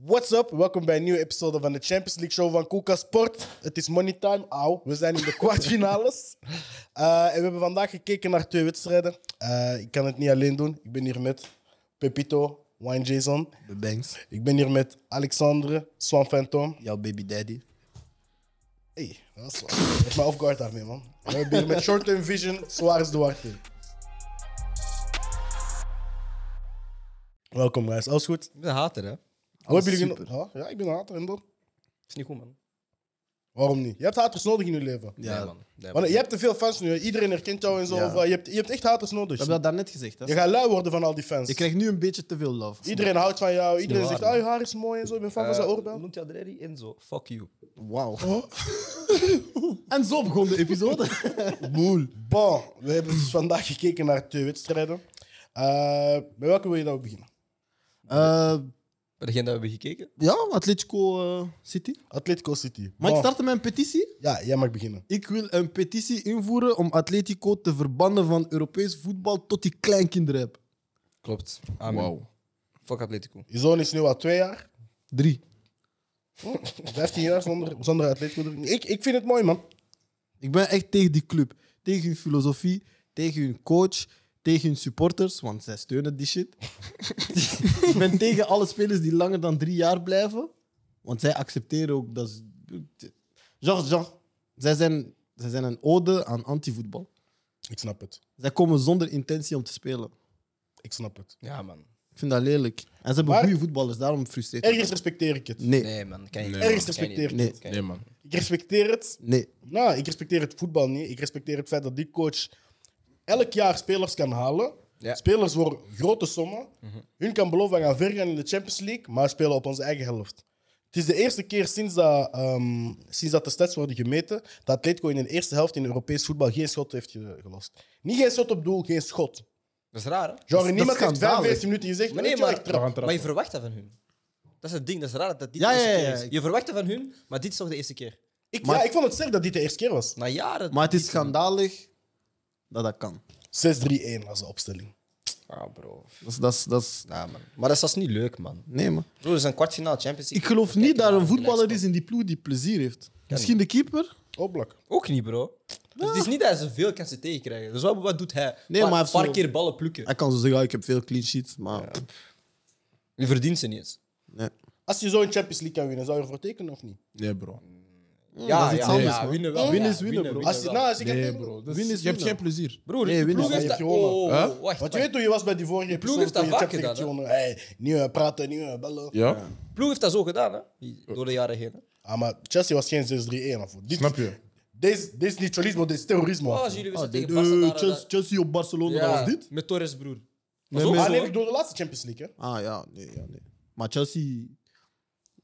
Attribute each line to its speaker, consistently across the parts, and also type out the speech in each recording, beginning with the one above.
Speaker 1: What's up? Welkom bij een nieuwe episode van de Champions League Show van Koeka Sport. Het is money time, auw. We zijn in de kwartfinales. Eh, en we hebben vandaag gekeken naar twee wedstrijden. Eh, ik kan het niet alleen doen. Ik ben hier met Pepito, Wine Jason.
Speaker 2: De Banks.
Speaker 1: Ik ben hier met Alexandre, Swan Phantom.
Speaker 2: Jouw baby daddy.
Speaker 1: Hey, dat is waar. Echt maar off guard daarmee, man. We hebben hier met Short Term Vision, Suarez Duarte. Welkom, guys. Alles goed?
Speaker 2: Ik ben een hater, hè?
Speaker 1: Hoe hebben jullie
Speaker 2: super.
Speaker 1: geno- ja, ja, ik ben een hater, en dan?
Speaker 3: is niet goed, man.
Speaker 1: Waarom niet? Je hebt haters nodig in je leven.
Speaker 2: Ja.
Speaker 3: Nee, man. Nee,
Speaker 1: Want
Speaker 3: man.
Speaker 1: je hebt te veel fans nu. hè. Iedereen herkent jou en zo.
Speaker 2: Ja.
Speaker 1: Of, eh, je, hebt, je hebt echt haters nodig.
Speaker 4: We hebben dat daarnet gezegd. Hè?
Speaker 1: Je gaat lui worden van al die fans.
Speaker 4: Je krijgt nu een beetje te veel love.
Speaker 1: Iedereen houdt van jou. Iedereen
Speaker 3: niet
Speaker 1: zegt,
Speaker 3: waar,
Speaker 1: ah, je haar is mooi en zo. Ik ben fan van zijn
Speaker 3: Eh,
Speaker 1: oorbel.
Speaker 3: Noemt Adreri Enzo? Fuck you. Oh.
Speaker 4: Wauw. en zo begon de episode.
Speaker 1: Boel. Bon, we hebben dus vandaag gekeken naar twee wedstrijden. Eh met welke wil je nou beginnen?
Speaker 4: Eh,
Speaker 3: Bij degene dat we hebben gekeken?
Speaker 4: ja, Atletico eh, City.
Speaker 1: Atletico City.
Speaker 4: Mag
Speaker 1: Bon.
Speaker 4: ik starten met een petitie?
Speaker 1: Ja, jij mag beginnen.
Speaker 4: Ik wil een petitie invoeren om Atletico te verbannen van Europees voetbal tot die kleinkinderen heb.
Speaker 3: Klopt. Amen. Fuck Atletico.
Speaker 1: Je zoon is nu al twee jaar.
Speaker 4: Drie.
Speaker 1: Hm, 15 jaar zonder, zonder Atletico. Ik, ik vind het mooi, man.
Speaker 4: Ik ben echt tegen die club. Tegen hun filosofie, tegen hun coach, tegen hun supporters, want zij steunen die shit. ik ben tegen alle spelers die langer dan drie jaar blijven, want zij accepteren ook dat. ze- Genre, genre. Zij zijn, zij zijn een ode aan antivoetbal.
Speaker 1: Ik snap het.
Speaker 4: Zij komen zonder intentie om te spelen.
Speaker 1: Ik snap het.
Speaker 3: Ja, man.
Speaker 4: Ik vind dat lelijk. En ze hebben
Speaker 1: Maar-
Speaker 4: goede voetballers, daarom frustreert het.
Speaker 1: Ergens respecteer ik het.
Speaker 4: Nee,
Speaker 3: Nee, man. Kan je
Speaker 2: Nee,
Speaker 3: niet.
Speaker 2: man.
Speaker 1: Ergens
Speaker 3: Kan je niet.
Speaker 1: respecteer ik
Speaker 4: Nee.
Speaker 1: het.
Speaker 3: Kan je
Speaker 2: Nee,
Speaker 3: niet.
Speaker 2: man.
Speaker 1: Ik respecteer het.
Speaker 4: nee.
Speaker 1: Nou, ik respecteer het voetbal niet. Ik respecteer het feit dat die coach elk jaar spelers kan halen.
Speaker 3: Ja.
Speaker 1: Spelers voor grote sommen. Hun kan beloven, we gaan ver gaan in de Champions League, maar spelen op onze eigen helft. Het is de eerste keer sinds dat, ehm, sinds dat de stats worden gemeten, dat Atletico in de eerste helft in Europees voetbal geen schot heeft ge- gelost. Niet geen schot op doel, geen schot.
Speaker 3: Dat is raar, hè?
Speaker 1: Genre,
Speaker 4: Dat is-
Speaker 1: niemand
Speaker 4: dat is
Speaker 1: heeft
Speaker 4: schandalig.
Speaker 1: 45 minuten gezegd,
Speaker 3: Maar
Speaker 1: maar
Speaker 3: nee,
Speaker 1: nee,
Speaker 3: maar,
Speaker 1: trap.
Speaker 3: maar je verwacht dat van hun. Dat is het ding. Dat is raar dat dat dit
Speaker 4: Ja,
Speaker 3: de
Speaker 4: ja,
Speaker 3: eerste
Speaker 4: ja,
Speaker 3: keer
Speaker 4: ja.
Speaker 3: is. Je verwacht dat van hun, maar dit is toch de eerste keer?
Speaker 1: Ik,
Speaker 4: Maar-
Speaker 1: ja, ik vond het sterk dat dit de eerste keer was. 6-3-1
Speaker 3: Na jaren.
Speaker 4: Maar het is schandalig dat dat kan.
Speaker 1: als de opstelling.
Speaker 3: Ah, bro.
Speaker 4: Dat is, dat is, dat is...
Speaker 3: Ja, man. Maar dat is, dat is niet leuk, man.
Speaker 4: Nee, man.
Speaker 3: Bro, dat is een kwartfinale Champions
Speaker 4: Ik
Speaker 3: League.
Speaker 4: geloof
Speaker 3: We kijken
Speaker 4: niet dat
Speaker 3: naar
Speaker 4: er een voetballer
Speaker 3: gelijkspel.
Speaker 4: is in die ploeg die plezier heeft. Misschien de keeper?
Speaker 1: Oblak.
Speaker 3: Ook niet, bro. Dus het is niet dat ze veel kansen tegenkrijgen. Dus wat, wat doet hij?
Speaker 4: Nee,
Speaker 3: Een
Speaker 4: maar hij
Speaker 3: paar,
Speaker 4: heeft
Speaker 3: paar
Speaker 4: zo-
Speaker 3: keer ballen plukken.
Speaker 4: Hij kan zo zeggen, ja, ik heb veel clean sheets, maar... pff,
Speaker 3: Je verdient ze niet eens.
Speaker 4: Nee.
Speaker 1: Als je zo'n Champions League kan winnen, zou je ervoor tekenen of niet?
Speaker 2: Nee, bro.
Speaker 3: Ja,
Speaker 4: is iets
Speaker 3: ja,
Speaker 4: anders,
Speaker 3: ja,
Speaker 4: man.
Speaker 3: winnen wel.
Speaker 4: Winnen
Speaker 3: Ja,
Speaker 4: is winnen, bro.
Speaker 1: Als je, nou, als je kan
Speaker 2: Nee,
Speaker 1: tekenen-
Speaker 2: bro. Dat is-
Speaker 4: Winnen is
Speaker 2: je hebt geen
Speaker 4: winnen.
Speaker 2: plezier.
Speaker 3: Broer,
Speaker 4: Nee,
Speaker 3: de
Speaker 4: winnen
Speaker 3: ploeg
Speaker 4: is-
Speaker 1: Ja,
Speaker 3: heeft dat...
Speaker 1: je
Speaker 3: Oh,
Speaker 1: hebt gewonnen.
Speaker 3: oh, oh,
Speaker 2: Huh?
Speaker 1: Want
Speaker 3: wacht. wacht.
Speaker 1: je weet hoe je was bij die vorige
Speaker 3: ploeg
Speaker 1: episode.
Speaker 3: heeft dat
Speaker 1: toen je
Speaker 3: vaak
Speaker 1: Champions
Speaker 3: gedaan,
Speaker 1: League won. Hey, nieuwe praten, nieuwe bellen.
Speaker 2: Ja?
Speaker 3: De ploeg heeft dat zo gedaan, hè? Door de jaren heen. hè.
Speaker 1: Ah, maar Chelsea was geen 6-3-1. of Dit,
Speaker 2: Snap je?
Speaker 1: Deze, deze is niet cholismo, dit is terrorisme.
Speaker 3: Oh,
Speaker 1: afo.
Speaker 3: als jullie wisten
Speaker 4: Ah, dit-
Speaker 3: tegen
Speaker 4: eh,
Speaker 3: Barca... daar-
Speaker 4: Chelsea, Chelsea op Barcelona,
Speaker 3: Ja,
Speaker 4: dat was dit?
Speaker 3: Met Torres, broer.
Speaker 4: Nee,
Speaker 3: Was ook
Speaker 4: maar-
Speaker 1: ah,
Speaker 3: zo,
Speaker 1: nee,
Speaker 3: hè?
Speaker 1: ik door de laatste Champions League. Hè?
Speaker 4: Ah, ja, nee, ja, nee. Maar Chelsea...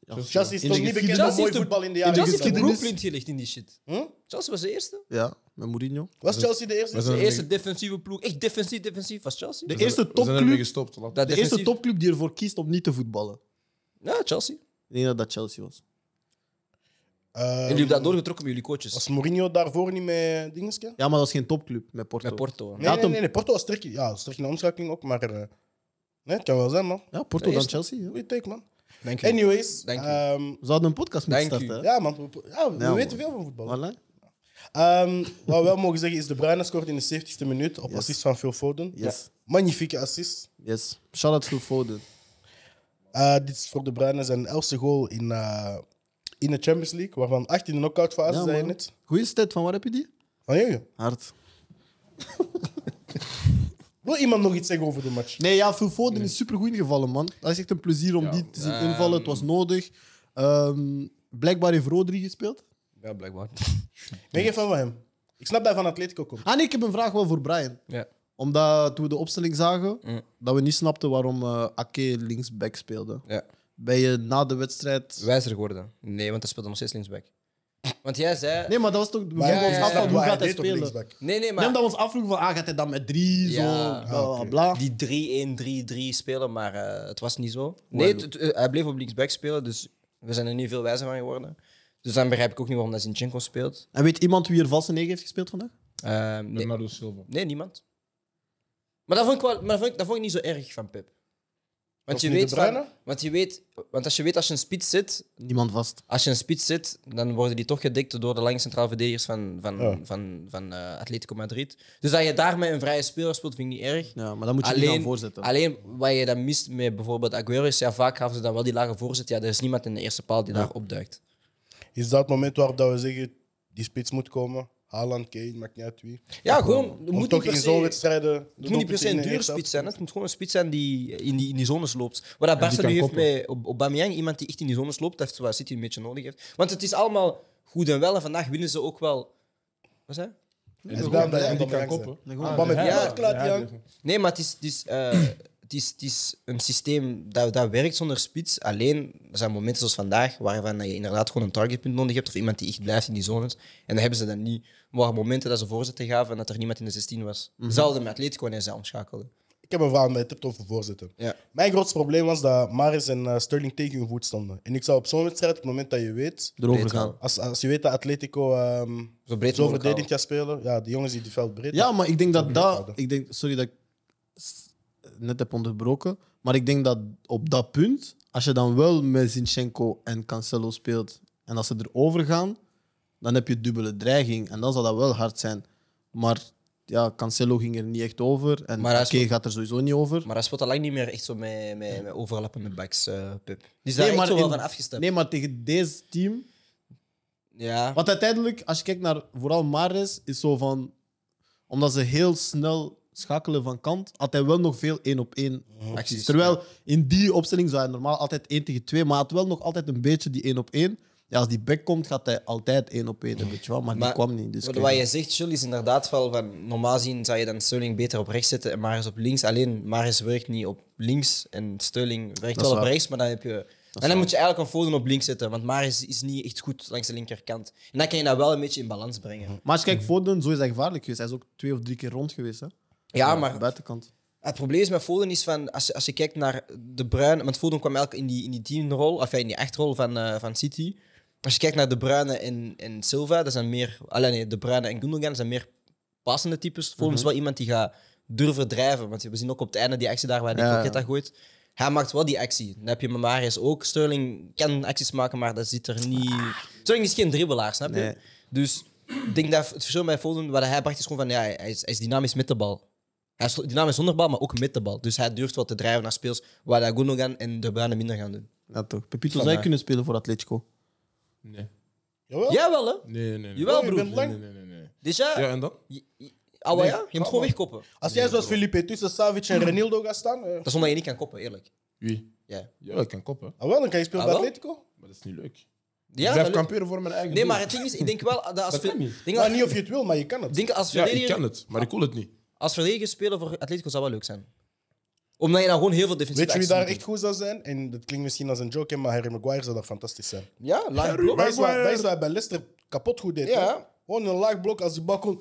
Speaker 4: Ja,
Speaker 1: Chelsea is
Speaker 4: in
Speaker 1: toch
Speaker 4: de
Speaker 1: niet
Speaker 4: geschiedenis-
Speaker 1: bekend om mooi voetbal in de jaren
Speaker 4: de
Speaker 3: Chelsea heeft een
Speaker 4: geschiedenis-
Speaker 3: blueprint gelegd in die shit.
Speaker 1: Hm?
Speaker 3: Chelsea was de eerste.
Speaker 4: Ja, met Mourinho.
Speaker 1: Was Chelsea de
Speaker 2: We
Speaker 1: eerste?
Speaker 2: zijn-
Speaker 3: De
Speaker 2: Ja,
Speaker 3: eerste defensieve ploeg. Echt defensief, defensief was Chelsea.
Speaker 4: De
Speaker 2: We zijn-
Speaker 4: eerste
Speaker 2: We zijn ermee
Speaker 4: topclub,
Speaker 2: gestopt.
Speaker 3: Dat
Speaker 2: laat-
Speaker 4: de eerste
Speaker 3: defensief-
Speaker 4: topclub die ervoor kiest om niet te voetballen.
Speaker 3: Ja, Chelsea.
Speaker 4: Ik denk dat dat Chelsea was.
Speaker 1: Ehm,
Speaker 3: En jullie hebben dat doorgetrokken met jullie coaches.
Speaker 1: Was Mourinho daarvoor niet met dingeske? Nee,
Speaker 4: Ja, maar dat was geen topclub, met Porto.
Speaker 3: Met Porto. hè.
Speaker 1: nee, nee,
Speaker 4: Datum.
Speaker 1: nee, Porto was sterk. Ja, sterk in de omschakeling ook, maar... eh, nee, het kan wel zijn, man.
Speaker 4: Ja, Porto
Speaker 3: De
Speaker 4: dan
Speaker 3: eerste.
Speaker 4: Chelsea. ja.
Speaker 1: Goeie take, man.
Speaker 3: Dank je.
Speaker 1: Anyways.
Speaker 3: Dank je.
Speaker 1: ehm,
Speaker 4: We zouden een podcast moeten
Speaker 3: Dank u.
Speaker 4: starten. hè?
Speaker 1: ja, man. We, ja, we
Speaker 4: Ja,
Speaker 1: weten
Speaker 4: man.
Speaker 1: veel van voetbal.
Speaker 4: Voilà.
Speaker 1: Ehm, wat we wel mogen zeggen is, De Bruyne scoort in de 70e minuut op
Speaker 4: Yes.
Speaker 1: assist van Phil Foden.
Speaker 4: Yes.
Speaker 1: Magnifieke assist.
Speaker 4: Yes. Shout-out Phil Foden.
Speaker 1: Eh, dit is voor De Bruyne zijn elfste goal in, eh, in de Champions League, waarvan 18 in de knock-out fase,
Speaker 4: Ja,
Speaker 1: zei je
Speaker 4: man.
Speaker 1: net.
Speaker 4: Goeie stat, van waar heb je die?
Speaker 1: Van joh,
Speaker 4: Hard.
Speaker 1: wil iemand nog iets zeggen over de match?
Speaker 4: Nee, ja, Phil Foden is supergoed ingevallen, man. Dat is echt een plezier om
Speaker 2: Ja.
Speaker 4: die te zien
Speaker 3: ehm,
Speaker 4: invallen. Het was nodig. Ehm, blijkbaar heeft Rodri gespeeld.
Speaker 3: Ja, blijkbaar.
Speaker 1: Ben je fan van hem? Ik snap dat hij van Atletico komt.
Speaker 4: Ah nee, ik heb een vraag wel voor Brian.
Speaker 3: Ja.
Speaker 4: Omdat toen we de opstelling zagen,
Speaker 3: Mm.
Speaker 4: dat we niet snapten waarom eh Ake linksback speelde.
Speaker 3: ja.
Speaker 4: Ben je na de wedstrijd...
Speaker 3: Wijzer geworden. Nee, want hij speelde nog steeds linksback. Want jij zei...
Speaker 4: Nee, maar dat was toch... We
Speaker 1: Maar
Speaker 4: vroegen
Speaker 3: ja,
Speaker 4: ons
Speaker 3: ja,
Speaker 4: af
Speaker 3: ja.
Speaker 4: van, hoe
Speaker 1: Waar
Speaker 4: gaat hij
Speaker 1: deed op
Speaker 4: spelen?
Speaker 1: linksback.
Speaker 3: Nee, nee,
Speaker 4: Nee,
Speaker 3: maar...
Speaker 4: omdat we ons afvroegen van, ah, gaat hij dan met drie, zo,
Speaker 3: Ja.
Speaker 4: bla, bla,
Speaker 1: oké.
Speaker 4: bla.
Speaker 3: die 3-1-3-3 spelen, maar eh, het was niet zo. Nee, het- het- eh, hij bleef op linksback spelen, dus we zijn er niet veel wijzer van geworden. Dus dan begrijp ik ook niet waarom dat Zinchenko speelt.
Speaker 4: En weet iemand wie er valse negen heeft gespeeld vandaag?
Speaker 3: Ehm, nee,
Speaker 2: Bernardo Silva.
Speaker 3: nee, niemand. Maar, dat vond, ik wel, maar dat, vond ik, dat vond ik niet zo erg van Pep. Want
Speaker 1: Of
Speaker 3: je,
Speaker 1: nu De
Speaker 3: weet van-
Speaker 1: Bruyne?
Speaker 3: want je weet, want als je weet als je een spits zit,
Speaker 4: Niemand vast.
Speaker 3: als je een spits zit, dan worden die toch gedikt door de lange centrale verdedigers van, van,
Speaker 1: Ja.
Speaker 3: van, van, eh, Atletico Madrid. Dus dat je daarmee een vrije speler speelt, vind ik niet erg.
Speaker 4: Ja, maar dan moet je niet aan
Speaker 3: Alleen,
Speaker 4: voorzetten.
Speaker 3: alleen wat je dan mist met bijvoorbeeld Aguero is, ja, vaak gaven ze dan wel die lage voorzet. Ja, er is niemand in de eerste paal die daar opduikt.
Speaker 1: Is dat het moment waarop dat we zeggen, die spits moet komen? Haaland, Kane, maakt niet uit wie.
Speaker 3: Ja, gewoon, er
Speaker 1: Om
Speaker 3: moet
Speaker 1: toch
Speaker 3: niet
Speaker 1: in
Speaker 3: per
Speaker 1: zo'n
Speaker 3: se,
Speaker 1: wedstrijden... de
Speaker 3: het moet niet per
Speaker 1: doelpunten
Speaker 3: se
Speaker 1: in
Speaker 3: een
Speaker 1: de
Speaker 3: dure
Speaker 1: eerste helft.
Speaker 3: spits zijn. hè. Het moet gewoon een spits zijn die in die, in die zones loopt. Wat dat
Speaker 4: die
Speaker 3: Barca
Speaker 4: kan
Speaker 3: nu heeft
Speaker 4: koppelen.
Speaker 3: met Ob- Aubameyang, iemand die echt in die zones loopt, dat heeft wat City een beetje nodig heeft. Want het is allemaal goed en wel en vandaag winnen ze ook wel... Wat zei?
Speaker 1: En
Speaker 2: En
Speaker 1: daarom
Speaker 2: daarom
Speaker 1: dat je
Speaker 2: die kan
Speaker 1: Aubameyang
Speaker 2: koppen.
Speaker 4: Nee, gewoon-
Speaker 1: Aubameyang,
Speaker 3: Ja,
Speaker 1: ja, klaar, ja.
Speaker 2: dus.
Speaker 3: Nee, maar het is, het is, eh, het is, het is een systeem dat, dat werkt zonder spits. Alleen, er zijn momenten zoals vandaag waarvan je inderdaad gewoon een targetpunt nodig hebt of iemand die echt blijft in die zones. En dat hebben ze dan niet. Er waren momenten dat ze voorzetten gaven en dat er niemand in de 16 was.
Speaker 4: Mhm.
Speaker 3: Hetzelfde met Atletico wanneer ze omschakelden.
Speaker 1: Ik heb een verhaal, maar je hebt het over voorzitten.
Speaker 3: Ja.
Speaker 1: Mijn grootste probleem was dat Maris en eh, Sterling tegen hun voet stonden. En ik zou op zo'n wedstrijd, op het moment dat je weet...
Speaker 4: Erover gaan.
Speaker 1: Als, als je weet dat Atletico ehm,
Speaker 3: Zo breed
Speaker 1: zo
Speaker 3: mogelijk
Speaker 1: verdedigd gaat spelen, ja, die jongens die het veld breed
Speaker 4: Ja, maar ik denk dat dat.
Speaker 1: houden.
Speaker 4: Ik denk, sorry dat ik s- net heb onderbroken. Maar ik denk dat op dat punt, als je dan wel met Zinchenko en Cancelo speelt en als ze erover gaan, dan heb je dubbele dreiging. En dan zal dat wel hard zijn. Maar ja, Cancelo ging er niet echt over. En
Speaker 3: Maar hij is
Speaker 4: Piqué gaat er sowieso niet over.
Speaker 3: Maar dat speelt al lang niet meer echt zo met, met, met overlappen met backs, eh Pep. Die is
Speaker 4: Nee,
Speaker 3: daar echt
Speaker 4: maar
Speaker 3: zo wel
Speaker 4: in-
Speaker 3: van afgestapt.
Speaker 4: Nee, maar tegen deze team.
Speaker 3: Ja.
Speaker 4: Want uiteindelijk, als je kijkt naar vooral Mares, is zo van. Omdat ze heel snel schakelen van kant, had hij wel nog veel één op één acties.
Speaker 3: Acties,
Speaker 4: Terwijl in die opstelling zou hij normaal altijd één tegen twee, maar had wel nog altijd een beetje die één op één. Ja, als die back komt, gaat hij altijd één op één, weet je wel. Maar, die
Speaker 3: Maar
Speaker 4: kwam niet. Dus
Speaker 3: Wat,
Speaker 4: kijk,
Speaker 3: wat je zegt, Chill, is inderdaad wel van normaal zien zou je dan Sterling beter op rechts zetten en Maris op links. Alleen Maris werkt niet op links en Sterling werkt
Speaker 4: is
Speaker 3: wel op
Speaker 4: waar.
Speaker 3: rechts, maar dan heb je. en dan moet je eigenlijk een Foden op links zetten, want Maris is niet echt goed langs de linkerkant. En dan kan je dat wel een beetje in balans brengen.
Speaker 4: Maar als je kijkt, Foden, zo is hij gevaarlijk geweest. Hij is ook twee of drie keer rond geweest. Hè?
Speaker 3: Ja,
Speaker 4: Aan de
Speaker 3: maar
Speaker 4: buitenkant.
Speaker 3: het probleem is met Foden is van als je, als je kijkt naar de Bruin, want Foden kwam elk in die in die tienrol, of ja, in die achtrol van, eh, van City. Als je kijkt naar de Bruyne en, en Silva, dat zijn meer, allee, nee, de Bruyne en Gundogan dat zijn meer passende types. Volgens wel iemand die gaat durven drijven, want we zien ook op het einde die actie daar waar die
Speaker 4: Ja.
Speaker 3: Koketa gooit. Hij maakt wel die actie. Dan heb je Mamaris ook. Sterling kan acties maken, maar dat zit er niet. Sterling is geen dribbelaar, snap je?
Speaker 4: Nee.
Speaker 3: Dus ik denk dat het verschil met Foden, wat hij bracht, is gewoon van ja, hij is, hij is dynamisch met de bal. Hij is dynamisch zonder bal, maar ook met de bal. Dus hij durft wel te drijven naar speels waar dat Gundogan en De Bruyne minder gaan doen.
Speaker 4: Ja, toch. Pepito zou
Speaker 3: Vandaar.
Speaker 4: je kunnen spelen voor Atletico.
Speaker 2: Nee.
Speaker 1: Jawel.
Speaker 3: Jawel, hè?
Speaker 2: Nee, nee, nee.
Speaker 3: Jawel,
Speaker 1: je
Speaker 3: broer.
Speaker 1: bent lang.
Speaker 2: Nee, nee, nee, nee.
Speaker 3: Dus ja,
Speaker 2: Ja, en dan?
Speaker 3: je- je- ouwe, Ah, ja? je moet gewoon wegkoppen.
Speaker 1: Als jij zoals Felipe tussen Savic en Renildo gaat staan, eh,
Speaker 3: Dat is omdat je niet kan koppen, eerlijk.
Speaker 2: Wie?
Speaker 3: Ja.
Speaker 2: Ja, ik kan koppen.
Speaker 1: ah, wel, dan kan je spelen
Speaker 3: Ah,
Speaker 1: bij
Speaker 3: wel?
Speaker 1: Atletico.
Speaker 2: Maar dat is niet leuk.
Speaker 3: Ja,
Speaker 2: ik blijf
Speaker 3: dat lukt.
Speaker 2: kamperen voor mijn eigen
Speaker 3: Nee,
Speaker 2: doel.
Speaker 3: maar het ding is, ik denk wel dat als,
Speaker 2: Dat
Speaker 3: ver-
Speaker 2: kan niet.
Speaker 3: denk
Speaker 1: Maar
Speaker 3: dat-
Speaker 1: niet of je het wil, maar je kan het.
Speaker 3: denk als
Speaker 2: Ja, ik
Speaker 3: verdediger,
Speaker 2: kan het, maar ik wil het niet.
Speaker 3: als verdediger spelen voor Atletico zou wel leuk zijn. Omdat je dan gewoon heel veel defensieve
Speaker 1: Weet je wie
Speaker 3: acties
Speaker 1: daar
Speaker 3: moet
Speaker 1: echt goed zou zijn? En dat klinkt misschien als een joke, hè, maar Harry Maguire zou daar fantastisch zijn.
Speaker 3: doen. Ja, laag blok.
Speaker 1: Dat is wat
Speaker 2: Maguire.
Speaker 1: dat is wat hij bij Leicester kapot goed deed.
Speaker 3: Ja.
Speaker 1: hè? Gewoon een laag blok als die bal komt.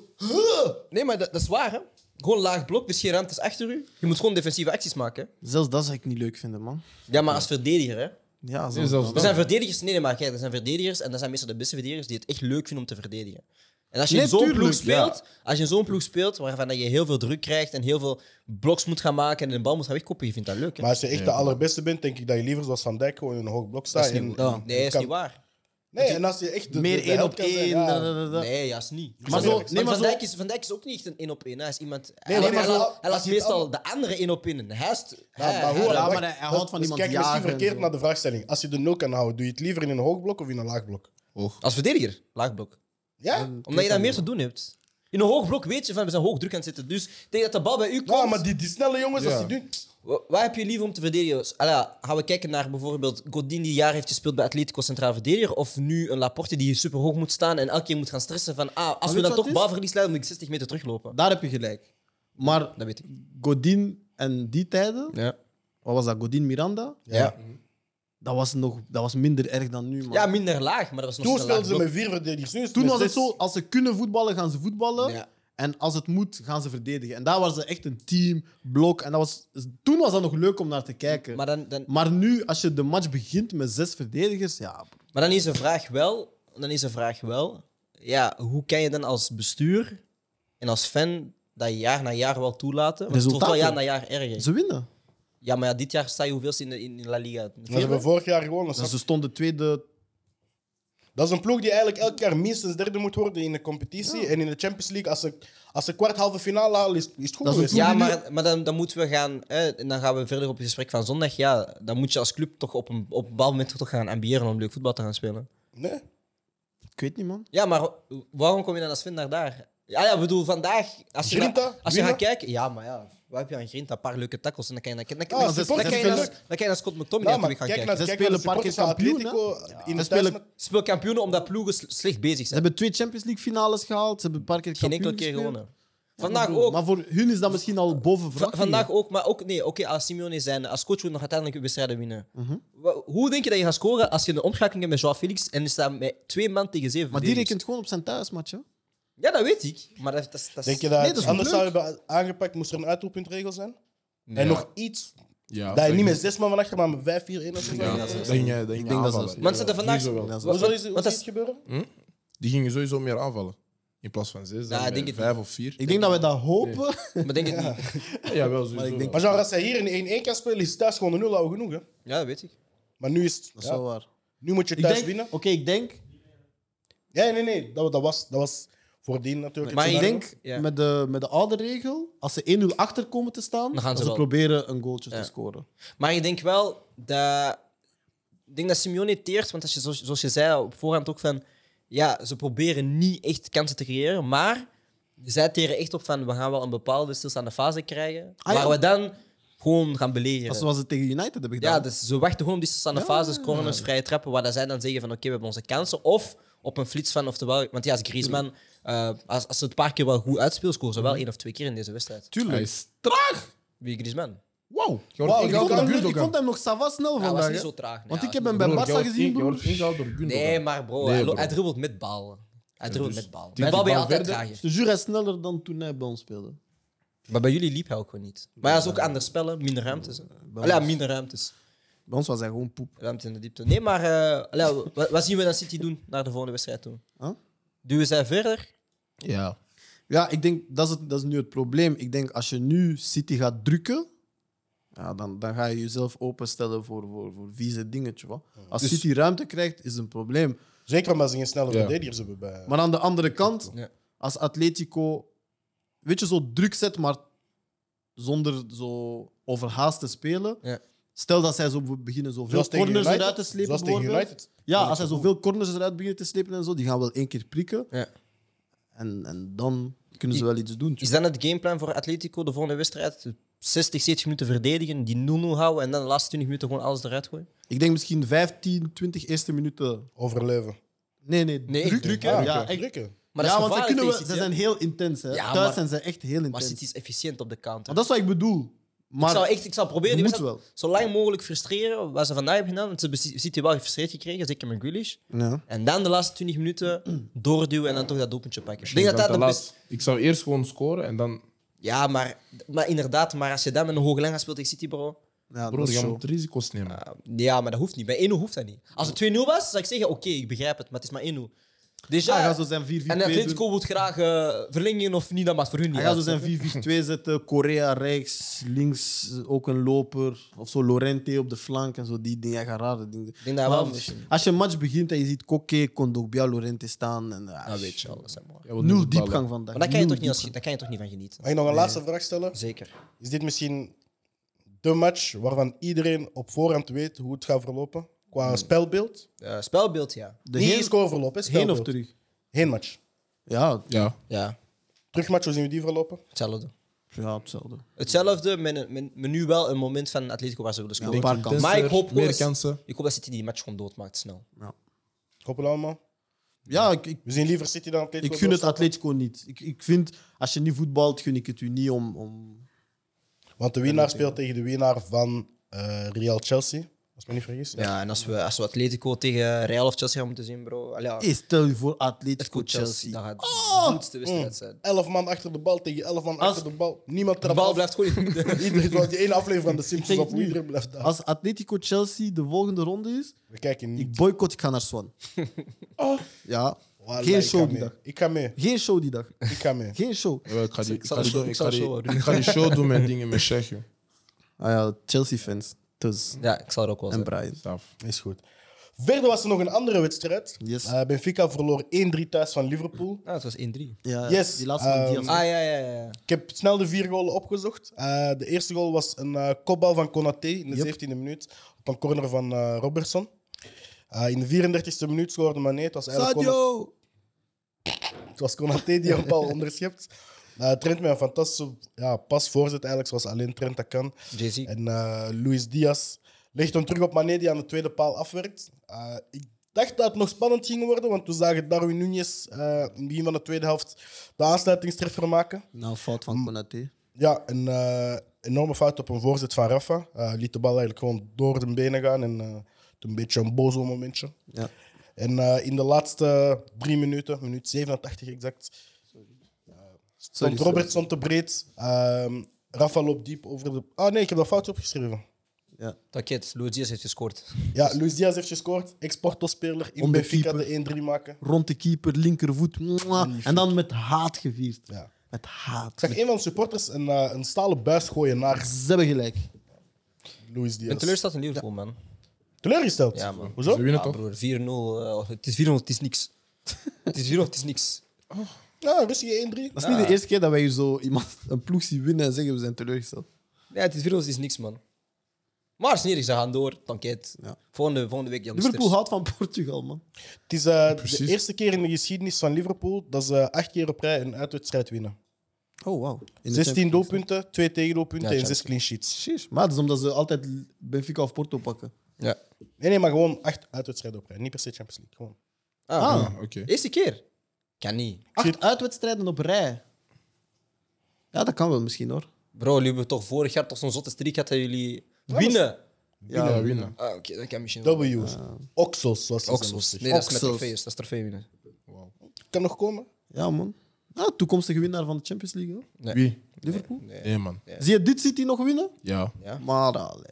Speaker 3: Nee, maar dat, dat is waar, hè. Gewoon laag blok, dus geen ruimtes achter u. Je moet gewoon defensieve acties maken.
Speaker 4: Zelfs dat zou ik niet leuk vinden, man.
Speaker 3: Ja, maar als verdediger, hè.
Speaker 4: Ja,
Speaker 2: Nee,
Speaker 4: zelfs
Speaker 2: zelfs
Speaker 3: Er
Speaker 2: dat.
Speaker 3: zijn verdedigers... Nee, nee, maar kijk, er zijn verdedigers en dat zijn meestal de beste verdedigers die het echt leuk vinden om te verdedigen. En als je
Speaker 4: Nee,
Speaker 3: in zo'n
Speaker 4: tuurlijk,
Speaker 3: ploeg speelt, als je in zo'n ploeg speelt waarvan dat je heel veel druk krijgt en heel veel bloks moet gaan maken en de bal moet gaan wegkoppen, je vindt dat leuk, hè.
Speaker 1: Maar als je echt de allerbeste bent, denk ik dat je liever zoals Van Dijk gewoon in een hoog blok
Speaker 3: Dat
Speaker 1: staat.
Speaker 3: is niet,
Speaker 1: en-
Speaker 3: ja. Nee, dat is
Speaker 1: kan-
Speaker 3: niet waar.
Speaker 1: Nee, en als je echt de, de-
Speaker 4: meer
Speaker 1: de
Speaker 4: één
Speaker 1: held
Speaker 4: op
Speaker 1: kan zijn,
Speaker 4: één.
Speaker 1: ja.
Speaker 4: da, da, da, da.
Speaker 3: Nee, juist niet.
Speaker 4: Maar zo- nee,
Speaker 3: Want
Speaker 4: maar
Speaker 3: van,
Speaker 4: zo-
Speaker 3: Dijk is, van Dijk is ook niet echt een 1 op 1. Hij is iemand.
Speaker 1: Nee,
Speaker 3: hij,
Speaker 1: maar
Speaker 3: hij
Speaker 1: zo-
Speaker 3: laat-
Speaker 1: als
Speaker 3: hij laat
Speaker 1: je het
Speaker 3: meestal
Speaker 1: al-
Speaker 3: de andere 1 op 1. Hij is.
Speaker 1: Ja, maar hoe
Speaker 4: Ja,
Speaker 1: dan?
Speaker 4: maar hij- hij houdt
Speaker 1: Dat-
Speaker 4: van
Speaker 1: dus
Speaker 4: iemand
Speaker 1: kijk, misschien
Speaker 4: jagen en
Speaker 1: verkeerd
Speaker 4: zo.
Speaker 1: naar de vraagstelling. Als je de nul kan houden, doe je het liever in een hoog blok of in een laag blok?
Speaker 3: Als verdediger, laag blok.
Speaker 1: Ja?
Speaker 3: Omdat je daar meer te doen hebt. In een hoog blok weet je van we zijn hoog druk aan het zitten. Dus ik denk dat de bal bij u komt.
Speaker 1: Ja, maar die, die snelle jongens,
Speaker 2: Ja.
Speaker 1: als die doen...
Speaker 3: Wa- Waar heb je liever om te verdedigen? Allee, gaan we kijken naar bijvoorbeeld Godin die jaar heeft gespeeld bij Atletico Centraal Verdediger. Of nu een Laporte die super hoog moet staan en elke keer moet gaan stressen van ah, als
Speaker 4: weet
Speaker 3: we
Speaker 4: je
Speaker 3: dan
Speaker 4: wat
Speaker 3: toch
Speaker 4: het is?
Speaker 3: balverlies leiden, moet ik 60 meter teruglopen.
Speaker 4: Daar heb je gelijk. Maar
Speaker 3: Dat weet ik.
Speaker 4: Godin en die tijden,
Speaker 3: Ja,
Speaker 4: wat was dat? Godin Miranda?
Speaker 3: ja.
Speaker 4: Dat was, nog, dat was minder erg dan nu. Man.
Speaker 3: ja minder laag, maar dat was nog
Speaker 1: Toen
Speaker 3: steeds een laag
Speaker 1: speelden ze
Speaker 3: blok.
Speaker 1: met vier verdedigers. nu is het
Speaker 4: Toen
Speaker 1: met
Speaker 4: was het
Speaker 1: zes.
Speaker 4: zo, als ze kunnen voetballen, gaan ze voetballen.
Speaker 3: Ja.
Speaker 4: En als het moet, gaan ze verdedigen. En daar waren ze echt een team, blok. En dat was, toen was dat nog leuk om naar te kijken.
Speaker 3: Maar
Speaker 4: Maar,
Speaker 3: dan, dan,
Speaker 4: nu, als je de match begint met zes verdedigers, ja,
Speaker 3: Maar dan is de vraag wel, dan is de vraag wel ja, hoe kan je dan als bestuur en als fan dat jaar na jaar wel toelaten? Want het wordt wel
Speaker 4: Resultaten.
Speaker 3: jaar na jaar erger.
Speaker 4: ze winnen.
Speaker 3: Ja, maar ja, dit jaar sta je hoeveelste in, de- in in La Liga?
Speaker 1: Maar ze hebben vorig jaar gewonnen. snap je?
Speaker 4: ze stonden tweede.
Speaker 1: Dat is een ploeg die eigenlijk elk jaar minstens derde moet worden in de competitie. En in de Champions League, als ze, als ze kwart halve finale halen, is, is het goed
Speaker 4: Dat is een
Speaker 1: geweest.
Speaker 3: Ja, maar, maar dan, dan moeten we gaan. Hè, en dan gaan we verder op het gesprek van zondag. Ja, dan moet je als club toch op een, op een bepaald moment toch gaan ambiëren om leuk voetbal te gaan spelen.
Speaker 1: Nee? Nou,
Speaker 4: Ik weet niet, man.
Speaker 3: Ja, maar wa- waarom kom je dan als Vind daar? Ah Ja, ja, ik bedoel, vandaag. Als je,
Speaker 1: Grinta,
Speaker 3: ga- als je
Speaker 1: winnen?
Speaker 3: gaat kijken. Ja, maar ja. Waar heb je aan Grinta? Een paar leuke tackles. En dan kan je, dan, dan,
Speaker 1: Ah,
Speaker 3: dan, dan,
Speaker 1: supporters
Speaker 3: kan je
Speaker 1: vinden
Speaker 3: naar-
Speaker 1: leuk.
Speaker 3: dan kan je naar Scott McTominay
Speaker 1: Ja,
Speaker 3: natuurlijk
Speaker 1: maar
Speaker 3: gaan
Speaker 1: kijk
Speaker 3: kijken.
Speaker 1: naar,
Speaker 4: Ze
Speaker 1: kijk naar
Speaker 4: spelen
Speaker 1: de
Speaker 4: een paar keer
Speaker 1: supporters van
Speaker 4: kampioen,
Speaker 1: Atletico. In de
Speaker 4: Ze spelen-
Speaker 1: thuis-
Speaker 3: Speel kampioenen omdat ploegen s- slecht bezig
Speaker 4: Ze
Speaker 3: zijn.
Speaker 4: hebben twee Champions League finales gehaald. Ze hebben een paar keer
Speaker 3: Geen
Speaker 4: kampioen
Speaker 3: enkele keer
Speaker 4: gespeeld.
Speaker 3: gewonnen. Vandaag
Speaker 4: Ik bedoel,
Speaker 3: ook.
Speaker 4: Maar voor hun is dat misschien al boven
Speaker 3: Va-
Speaker 4: verwachting.
Speaker 3: vandaag ook, maar ook nee, oké, als Simeone zijn, als coach wil nog uiteindelijk wedstrijden winnen.
Speaker 1: Mhm.
Speaker 3: Wa- Hoe denk je dat je gaat scoren als je een omschakeling hebt met Joao Felix en je staat met twee man tegen zeven?
Speaker 4: Maar die
Speaker 3: verdedigers?
Speaker 4: rekent gewoon op zijn thuismatch. hè.
Speaker 3: Ja, dat weet ik. Maar dat, dat, dat
Speaker 1: Denk je dat,
Speaker 4: Nee, dat is
Speaker 1: anders
Speaker 4: leuk.
Speaker 1: zou hebben aangepakt, moest er een uitroeppuntregel zijn?
Speaker 2: Nee,
Speaker 1: En
Speaker 2: ja.
Speaker 1: nog iets,
Speaker 2: Ja,
Speaker 1: dat je
Speaker 2: ik-
Speaker 1: niet met zes man van achter, maar met vijf, vier, één of zo.
Speaker 2: Ja,
Speaker 1: zou
Speaker 2: dat
Speaker 1: gaan.
Speaker 2: ging, eh, dat
Speaker 4: denk
Speaker 2: ging
Speaker 4: dat ze-
Speaker 2: aanvallen.
Speaker 3: Want ze hadden vandaag-
Speaker 2: Sowieso wel.
Speaker 4: Ja,
Speaker 1: Hoe
Speaker 4: zo.
Speaker 1: zal iets- hoe
Speaker 3: Want
Speaker 1: zal
Speaker 3: dat
Speaker 1: iets gebeuren?
Speaker 2: Die gingen sowieso meer aanvallen. In plaats van zes,
Speaker 3: Ja,
Speaker 2: dan
Speaker 3: ik denk
Speaker 2: met
Speaker 3: het
Speaker 2: vijf of vier.
Speaker 4: Ik denk dat we dat hopen.
Speaker 3: Maar denk het niet.
Speaker 2: Ja, wel sowieso.
Speaker 4: ik denk-
Speaker 1: Maar genre, als hij hier in 1-1 kan spelen, is thuis gewoon een nul houden genoeg. Hè?
Speaker 3: Ja, dat weet ik.
Speaker 1: Maar nu, is het,
Speaker 4: Dat is
Speaker 1: ja,
Speaker 4: wel waar.
Speaker 1: nu moet je
Speaker 4: Ik
Speaker 1: thuis
Speaker 4: denk-
Speaker 1: winnen.
Speaker 4: Oké, ik denk
Speaker 1: Ja, nee, nee, dat, dat, was, dat was voordien natuurlijk.
Speaker 3: Maar
Speaker 1: het
Speaker 3: ik
Speaker 4: Ik
Speaker 1: scenario.
Speaker 4: denk
Speaker 3: Ja.
Speaker 4: met, de, met de oude regel, als ze 1-0 achter komen te staan,
Speaker 3: Dan gaan
Speaker 4: dat
Speaker 3: ze
Speaker 4: ze
Speaker 3: wel.
Speaker 4: proberen een goaltje
Speaker 3: Ja.
Speaker 4: te scoren.
Speaker 3: Maar ik denk wel dat. Ik denk dat Simeone teert, want als je, zoals, zoals je zei op voorhand ook van. Ja, ze proberen niet echt kansen te creëren, maar zij teren echt op van we gaan wel een bepaalde stilstaande fase krijgen.
Speaker 4: Ah, ja.
Speaker 3: waar we dan gewoon gaan belegeren.
Speaker 4: Dat is zoals ze tegen United hebben gedaan.
Speaker 3: Ja, dus ze wachten gewoon op die stilstaande fases, corners, vrije trappen, waar dat zij dan zeggen van oké, we hebben onze kansen. Of op een flits van, oftewel, want ja, als Griezmann, eh, als, als ze het een paar keer wel goed uitspeelt, scoren ze wel
Speaker 4: Mhm.
Speaker 3: één of twee keer in deze wedstrijd.
Speaker 2: Tuurlijk. Hij is traag.
Speaker 3: Wie Griezmann?
Speaker 2: Wauw.
Speaker 1: Wauw,
Speaker 4: ik,
Speaker 1: ik
Speaker 4: vond
Speaker 1: kan
Speaker 4: hem,
Speaker 1: niet
Speaker 4: ik vond hem nog savas snel
Speaker 3: Hij was
Speaker 4: vandaag.
Speaker 3: niet
Speaker 4: hè.
Speaker 3: zo traag. nee,
Speaker 4: Want
Speaker 3: hij
Speaker 4: ik
Speaker 3: was
Speaker 4: heb hem bij Barca gezien,
Speaker 2: Je
Speaker 4: broer.
Speaker 2: wordt ingehaald door Gundogan.
Speaker 3: Nee, maar bro,
Speaker 2: Nee,
Speaker 3: hij,
Speaker 2: bro.
Speaker 3: hij dribbelt met ballen. Hij dribbelt
Speaker 2: dus
Speaker 3: met ballen.
Speaker 2: die
Speaker 3: Met bal ben je
Speaker 2: bal
Speaker 3: altijd
Speaker 2: verder.
Speaker 3: trager.
Speaker 4: Dus Jura is sneller dan toen hij bij ons speelde.
Speaker 3: Maar bij jullie liep hij ook gewoon niet. Maar dat is ook anders spellen, minder ruimtes. hè.
Speaker 4: bij
Speaker 3: Allee, ja,
Speaker 4: ons-
Speaker 3: minder ruimtes.
Speaker 4: Bij ons was hij gewoon poep.
Speaker 3: Ruimte in de diepte. Nee, maar eh, allee, wa- wat, zien we dan City doen naar de volgende wedstrijd toe?
Speaker 4: Huh?
Speaker 3: Duwen zij verder?
Speaker 2: Ja.
Speaker 4: Ja, ik denk, dat is, het- dat is nu het probleem. Ik denk, als je nu City gaat drukken, ja, dan, dan ga je jezelf openstellen voor, voor, voor vieze dingetje. Wat. Als
Speaker 2: Dus-
Speaker 4: City ruimte krijgt, is het een probleem.
Speaker 1: Zeker omdat ze geen snelle
Speaker 2: Ja.
Speaker 1: verdedigers hebben. Bij...
Speaker 4: Maar aan de andere kant,
Speaker 3: Ja.
Speaker 4: als Atletico, weet je, zo druk zet, maar zonder zo overhaast te spelen.
Speaker 3: Ja.
Speaker 4: Stel dat zij zo beginnen zoveel
Speaker 1: Zoals tegen
Speaker 4: corners
Speaker 1: United.
Speaker 4: eruit te slepen.
Speaker 1: Zoals tegen
Speaker 4: bijvoorbeeld.
Speaker 1: United.
Speaker 4: Ja, als zij zoveel corners eruit beginnen te slepen en zo, die gaan wel één keer prikken.
Speaker 3: Ja.
Speaker 4: En, en dan kunnen ze wel iets doen.
Speaker 3: Is dan het gameplan voor Atletico de volgende wedstrijd? 60, 70 minuten verdedigen, die 0-0 houden en dan de laatste 20 minuten gewoon alles eruit gooien?
Speaker 4: Ik denk misschien 15, 20 eerste minuten.
Speaker 1: Overleven.
Speaker 4: Nee, nee,
Speaker 3: Nee,
Speaker 4: druk.
Speaker 3: drukken.
Speaker 4: Ja,
Speaker 1: Ah,
Speaker 4: ja,
Speaker 1: oké.
Speaker 4: echt.
Speaker 1: Drukken.
Speaker 3: Maar dat is
Speaker 4: ja want ze,
Speaker 3: gevaarlijk
Speaker 4: kunnen wel-
Speaker 3: tegen
Speaker 4: ze
Speaker 3: City, hè?
Speaker 4: zijn heel intens. Hè.
Speaker 3: Ja,
Speaker 4: Thuis
Speaker 3: maar-
Speaker 4: zijn ze echt heel
Speaker 3: Maar
Speaker 4: intens.
Speaker 3: City is efficiënt op de counter.
Speaker 4: Maar dat is wat ik bedoel. Maar
Speaker 3: ik, zou echt, ik zou proberen
Speaker 4: je
Speaker 3: die
Speaker 4: moet
Speaker 3: wedstrijd
Speaker 4: wel.
Speaker 3: zo lang mogelijk frustreren wat ze vandaag hebben gedaan. Want ze hebben Ci- City wel gefrustreerd gekregen, zeker met Grealish.
Speaker 4: Ja.
Speaker 3: En dan de laatste 20
Speaker 4: Mm.
Speaker 3: minuten doorduwen en dan toch dat doelpuntje pakken. Ik
Speaker 2: Ik
Speaker 3: denk dat dat de best...
Speaker 2: Ik zou eerst gewoon scoren en dan...
Speaker 3: Ja, maar, maar inderdaad, maar als je dan met een hoge lijn gaat spelen tegen City, bro.
Speaker 4: Ja,
Speaker 2: Bro,
Speaker 4: dat is
Speaker 2: je
Speaker 4: zo.
Speaker 2: moet risico's nemen.
Speaker 3: ah, Ja, maar dat hoeft niet. Bij 1-0 hoeft dat niet. Als het 2-0 was, zou ik zeggen: oké, ik begrijp het, maar het is maar 1-0. Dus
Speaker 4: Hij
Speaker 3: ja,
Speaker 4: gaat zo zijn 4-4-2
Speaker 3: en
Speaker 4: doen.
Speaker 3: Atletico wil graag eh, verlengen of niet, dat maakt voor hun niet.
Speaker 4: Hij gaat zo
Speaker 3: uit.
Speaker 4: zijn 4-4-2 zetten. Korea rechts, links eh, ook een loper. Of zo Lorente op de flank en zo. Die dingen. Hij gaat rare dingen.
Speaker 3: Ik denk dat hij wel
Speaker 4: Maar
Speaker 3: misschien-
Speaker 4: als je een match begint en je ziet Koke, Kondogbia, Lorente staan. En, ah,
Speaker 3: Dat weet je al. dat is helemaal waar.
Speaker 2: Ja, wat doen
Speaker 4: Nul
Speaker 2: we ballen?
Speaker 4: diepgang vandaag.
Speaker 3: Maar daar kan, je
Speaker 4: Nul
Speaker 3: toch niet als,
Speaker 4: diepgang.
Speaker 3: daar kan je toch niet van genieten.
Speaker 1: Mag ik nog een laatste vraag stellen?
Speaker 3: Zeker.
Speaker 1: Is dit misschien de match waarvan iedereen op voorhand weet hoe het gaat verlopen? Qua spelbeeld?
Speaker 3: Eh, spelbeeld, ja.
Speaker 4: De
Speaker 1: Niet
Speaker 4: heen-
Speaker 1: scoreverloop, hè?
Speaker 4: heen of
Speaker 1: spelbeeld.
Speaker 4: terug?
Speaker 1: Heenmatch.
Speaker 4: Ja,
Speaker 2: Ja.
Speaker 3: Ja,
Speaker 1: Terugmatch, hoe zien we die verlopen?
Speaker 3: hetzelfde.
Speaker 4: ja hetzelfde.
Speaker 3: Hetzelfde, met, een- met, met nu wel een moment van Atletico waar ze willen
Speaker 4: een
Speaker 3: scoren.
Speaker 4: paar kansen.
Speaker 3: maar ik hoop, gewoon
Speaker 2: Meer
Speaker 3: dat-
Speaker 2: kansen.
Speaker 3: ik hoop dat City die match gewoon doodmaakt snel.
Speaker 1: Ik hoop het allemaal.
Speaker 4: Ja, ik, ik,
Speaker 1: We zien liever City dan Atletico.
Speaker 4: ik gun het
Speaker 1: doorstappen.
Speaker 4: Atletico niet. Ik, ik vind, als je niet voetbalt, gun ik het u niet om... om...
Speaker 1: Want de winnaar speelt tegen de winnaar van eh, Real Chelsea. Als ik me niet vergis.
Speaker 3: Ja, en als we, als we Atletico tegen Real of Chelsea gaan moeten zien, bro. allee, ja,
Speaker 4: Hey, stel je voor Atletico
Speaker 3: Atletico Chelsea, Oh! Mm. dat
Speaker 4: Chelsea.
Speaker 3: gaat de goedste wedstrijd zijn.
Speaker 1: 11 man achter de bal tegen 11 man achter de bal. Niemand
Speaker 3: De
Speaker 1: trapt
Speaker 3: bal
Speaker 1: af.
Speaker 3: blijft gewoon in het midden.
Speaker 1: Iedereen was die ene aflevering van de
Speaker 4: Zeg
Speaker 1: Simpsons
Speaker 4: het
Speaker 1: op
Speaker 4: nu.
Speaker 1: iedereen blijft daar.
Speaker 4: Als Atletico Chelsea de volgende ronde is,
Speaker 1: We kijken niet.
Speaker 4: ik boycott, ik ga naar Swan. Oh. Ja,
Speaker 1: Wallah,
Speaker 4: geen
Speaker 1: ik ga
Speaker 4: show die
Speaker 1: mee.
Speaker 4: dag.
Speaker 1: Ik ga mee.
Speaker 4: Geen show die dag.
Speaker 1: Ik ga mee.
Speaker 4: Geen show.
Speaker 2: Ja, ik ga die-
Speaker 3: Ik
Speaker 2: ik
Speaker 3: zal
Speaker 2: ga
Speaker 3: de
Speaker 2: die
Speaker 3: show-
Speaker 2: doen-
Speaker 3: ik
Speaker 2: ik
Speaker 3: zal
Speaker 2: ga
Speaker 3: de show wel
Speaker 2: die-
Speaker 3: doen.
Speaker 2: ik ga die show doen met dingen met Sheikh. joh.
Speaker 4: Ah ja, Chelsea-fans. Dus
Speaker 3: Ja, ik zal er ook wel
Speaker 4: en
Speaker 3: zeggen.
Speaker 4: Brian.
Speaker 2: Staf.
Speaker 1: Is goed. Verder was er nog een andere wedstrijd.
Speaker 4: Yes.
Speaker 1: Eh, Benfica verloor 1-3 thuis van Liverpool.
Speaker 3: Ah, het was 1-3. Ah,
Speaker 4: Ja,
Speaker 1: Yes,
Speaker 4: die laatste van
Speaker 1: ehm,
Speaker 4: Diaz.
Speaker 3: ja, ja, ja. ja.
Speaker 1: Ik heb snel de vier goals opgezocht. Eh, de eerste goal was een eh, kopbal van Konaté in de
Speaker 4: Yep.
Speaker 1: 17e minuut op een corner van eh, Robertson. Eh, in de 34e minuut scoorde Mané. Het was eigenlijk Konaté-
Speaker 4: Sadio!
Speaker 1: het was Konaté die een bal onderschept. Eh, Trent met een fantastische ja, pas voorzet, eigenlijk zoals alleen Trent dat kan.
Speaker 3: Jay-Z.
Speaker 1: En eh, Luis Diaz legt hem terug op Mané, die aan de tweede paal afwerkt. Eh, ik dacht dat het nog spannend ging worden, want we zagen Darwin Nunez eh, in het begin van de tweede helft de aansluitingstreffer maken.
Speaker 4: Nou, fout van Konaté.
Speaker 1: Ja, een eh, enorme fout op een voorzet van Rafa. Eh, liet de bal eigenlijk gewoon door de benen gaan en eh, het een beetje een bozo momentje.
Speaker 4: Ja.
Speaker 1: En eh, in de laatste drie minuten, minuut 87 exact,
Speaker 4: Sorry,
Speaker 1: stond Robertson te breed. Ehm, Rafa loopt diep over de... Ah nee, ik heb dat fout opgeschreven.
Speaker 3: Dat kid, Luis Diaz heeft gescoord.
Speaker 1: Ja, Luis Diaz heeft gescoord. Ex-Porto-speler in
Speaker 4: Om de
Speaker 1: Benfica
Speaker 4: keeper.
Speaker 1: de 1-3 maken.
Speaker 4: Rond de keeper, linkervoet. mwah. En dan met haat gevierd.
Speaker 1: Ja.
Speaker 4: Met haat.
Speaker 1: Ik zag een van de supporters een, eh, een stalen buis gooien naar
Speaker 4: Ze hebben gelijk.
Speaker 1: Luis Diaz.
Speaker 3: Ik ben teleurgesteld in Liverpool, man.
Speaker 1: Teleurgesteld?
Speaker 3: Ja, man.
Speaker 1: Hoezo?
Speaker 2: Ze winnen
Speaker 3: Ja,
Speaker 2: toch?
Speaker 3: broer, 4-0. eh, het is 4-0, het is niks. het is 4-0, het is niks.
Speaker 1: Ja, rustige 1-3.
Speaker 4: Dat is niet de eerste keer dat wij zo iemand, een ploeg zien winnen en zeggen we zijn teleurgesteld.
Speaker 3: Ja, het is 4-0, het is niks, man. Maar het is niet erg, ze gaan door. Dan kid.
Speaker 4: Ja.
Speaker 3: Volgende, volgende week, jongens.
Speaker 4: Liverpool houdt van Portugal, man.
Speaker 1: Het is eh, de
Speaker 2: Precies.
Speaker 1: eerste keer in de geschiedenis van Liverpool dat ze acht keer op rij een uitwedstrijd winnen.
Speaker 4: Oh, wauw.
Speaker 1: 16 doelpunten, 2 tegendoelpunten
Speaker 3: Ja,
Speaker 1: en 6
Speaker 3: Champions
Speaker 1: clean sheets.
Speaker 4: Maar dat is omdat ze altijd Benfica of Porto pakken.
Speaker 3: Ja.
Speaker 1: Nee, nee, maar gewoon acht uitwedstrijden op rij. Niet per se Champions League. Gewoon.
Speaker 3: Ah,
Speaker 2: Ah, oké.
Speaker 3: Eerste keer? Kan niet.
Speaker 4: Acht uitwedstrijden op rij. Ja, dat kan wel misschien, hoor.
Speaker 3: Bro, jullie hebben toch vorig jaar toch zo'n zotte streak gehad dat jullie winnen?
Speaker 2: Winnen, winnen.
Speaker 3: Ah, oké, dat kan misschien wel.
Speaker 1: W's. Oxos, zoals ze
Speaker 3: Oxos.
Speaker 1: zeggen.
Speaker 3: Nee, dat is met
Speaker 4: Oxos.
Speaker 3: trofeeën. Dat is trofee winnen.
Speaker 1: Kan nog komen?
Speaker 4: Ja, man. Ja, toekomstige winnaar van de Champions League, hoor.
Speaker 3: Nee.
Speaker 2: Wie?
Speaker 4: Liverpool.
Speaker 2: Nee, man.
Speaker 4: Zie je dit City nog winnen?
Speaker 2: Ja.
Speaker 4: Maar allee.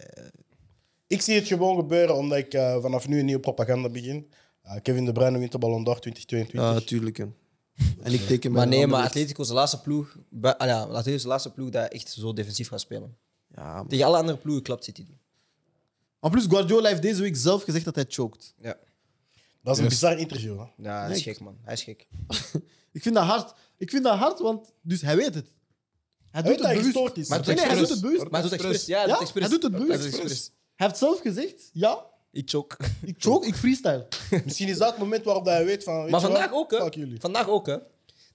Speaker 1: Ik zie het gewoon gebeuren omdat ik eh, vanaf nu een nieuwe propaganda begin. Eh, Kevin De Bruyne wint de Ballon d'Or 2022.
Speaker 4: Ja, tuurlijk. hè. En ik teken
Speaker 3: Maar
Speaker 4: mijn
Speaker 3: nee,
Speaker 4: handen
Speaker 3: maar
Speaker 4: weg.
Speaker 3: Atletico is de laatste ploeg. bij- ah ja, Atletico is de laatste ploeg dat echt zo defensief gaat spelen.
Speaker 4: Ja, man.
Speaker 3: Tegen alle andere ploegen klapt City die.
Speaker 4: En plus, Guardiola heeft deze week zelf gezegd dat hij chokt.
Speaker 3: Ja.
Speaker 1: dat is een
Speaker 2: Yes.
Speaker 1: bizar interview. Hè?
Speaker 3: ja, hij is
Speaker 4: Nee,
Speaker 3: gek, man. Hij is gek.
Speaker 4: Ik vind dat hard. Ik vind dat hard, want dus hij weet het. Hij
Speaker 1: Hij weet
Speaker 4: doet
Speaker 1: dat
Speaker 4: het
Speaker 1: hij
Speaker 4: bewust.
Speaker 1: gestoord is.
Speaker 3: Maar
Speaker 4: Nee, nee, hij doet het bewust.
Speaker 3: Maar hij doet expres. Ja, hij
Speaker 4: Ja,
Speaker 3: doet expres.
Speaker 4: hij doet het bewust.
Speaker 3: expres.
Speaker 4: Hij heeft zelf gezegd, ja,
Speaker 3: Ik choke.
Speaker 4: ik choke, ik freestyle.
Speaker 1: Misschien is dat het moment waarop dat hij weet van... weet
Speaker 3: Maar
Speaker 1: je
Speaker 3: vandaag
Speaker 1: wat?
Speaker 3: ook, hè?
Speaker 1: Fuck jullie.
Speaker 3: Vandaag ook, hè?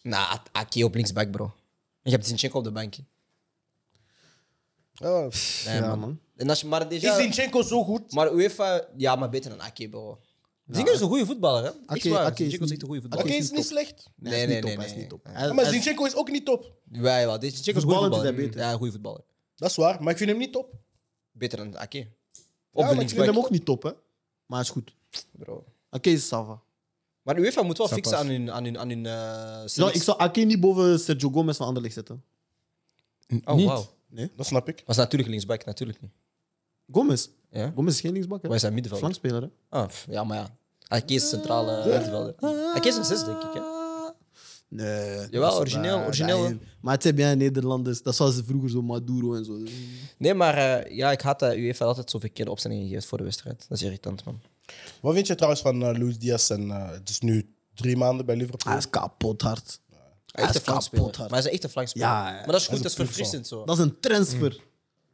Speaker 3: Nou, Aki op linksback, bro. En je hebt Zinchenko op de bankje.
Speaker 1: Ja.
Speaker 3: Nee,
Speaker 4: Ja,
Speaker 3: man.
Speaker 4: man.
Speaker 3: En als je maar
Speaker 1: Is
Speaker 3: déjà...
Speaker 1: Zinchenko zo goed?
Speaker 3: Maar UEFA, ja, maar beter dan Aki, bro. Zinchenko is een goede voetballer, hè?
Speaker 4: Ake-
Speaker 3: Echt waar,
Speaker 4: Ake is
Speaker 3: Zinchenko is
Speaker 4: niet-
Speaker 3: echt een goede
Speaker 1: Oké,
Speaker 3: voetballer.
Speaker 1: is
Speaker 4: Ake niet
Speaker 1: niet
Speaker 4: top.
Speaker 1: slecht.
Speaker 4: hij is
Speaker 3: Nee,
Speaker 4: niet
Speaker 3: nee,
Speaker 4: top, hij is
Speaker 3: nee,
Speaker 4: niet top.
Speaker 3: nee.
Speaker 4: Hij-
Speaker 1: Maar
Speaker 4: hij is-
Speaker 1: Zinchenko is ook niet top.
Speaker 3: Ja, ja, dit is een goede
Speaker 4: Voetballend is
Speaker 3: voetballer.
Speaker 4: hij beter.
Speaker 3: Ja, een goede voetballer.
Speaker 1: Dat is waar, maar ik vind hem niet top.
Speaker 3: Beter dan Ake.
Speaker 1: maar
Speaker 3: Op
Speaker 1: ik
Speaker 3: de
Speaker 1: vind
Speaker 4: Ik vind hem
Speaker 3: linksback.
Speaker 4: ook niet top, hè. Maar hij is goed.
Speaker 3: Bro.
Speaker 4: Ake is Sava.
Speaker 3: Maar UEFA moet wel
Speaker 2: Dat
Speaker 3: fixen
Speaker 2: past.
Speaker 3: aan hun, aan hun, aan hun eh,
Speaker 4: Ja, ik
Speaker 3: selectie.
Speaker 4: zou Ake niet boven Sergio Gomez van Anderlecht zetten.
Speaker 3: Oh,
Speaker 2: Niet.
Speaker 3: wauw.
Speaker 1: Dat snap ik.
Speaker 3: Was natuurlijk linksback, natuurlijk niet.
Speaker 4: Gomez?
Speaker 3: Ja?
Speaker 4: Gomez is geen linksbak, hè.
Speaker 3: Wij zijn middenvelder.
Speaker 4: Flankspeler, hè.
Speaker 3: Ah, pff, ja, maar ja. Ake is centrale middenvelder. Ake is een zes, denk ik, hè?
Speaker 4: Nee. dat
Speaker 3: Jawel,
Speaker 4: is
Speaker 3: origineel,
Speaker 4: waar.
Speaker 3: origineel,
Speaker 4: Ja, Maar het zijn bijna Nederlanders. Dat was vroeger zo Maduro en zo.
Speaker 3: Nee, maar eh, ja, ik had dat UEFA altijd zo verkeerde opstellingen gegeven voor de wedstrijd. Dat is irritant, man.
Speaker 1: Wat vind je trouwens van eh, Luis Diaz? En, eh, het is nu drie maanden bij Liverpool.
Speaker 4: Hij Ah, is kapot hard.
Speaker 3: Hij is
Speaker 4: is
Speaker 3: een flankspeler.
Speaker 4: kapot hard.
Speaker 3: Maar hij is echt een flankspeler.
Speaker 4: Ja, ja.
Speaker 3: maar dat is goed, dat is
Speaker 1: een
Speaker 3: verfrissend zo.
Speaker 4: Dat is een transfer.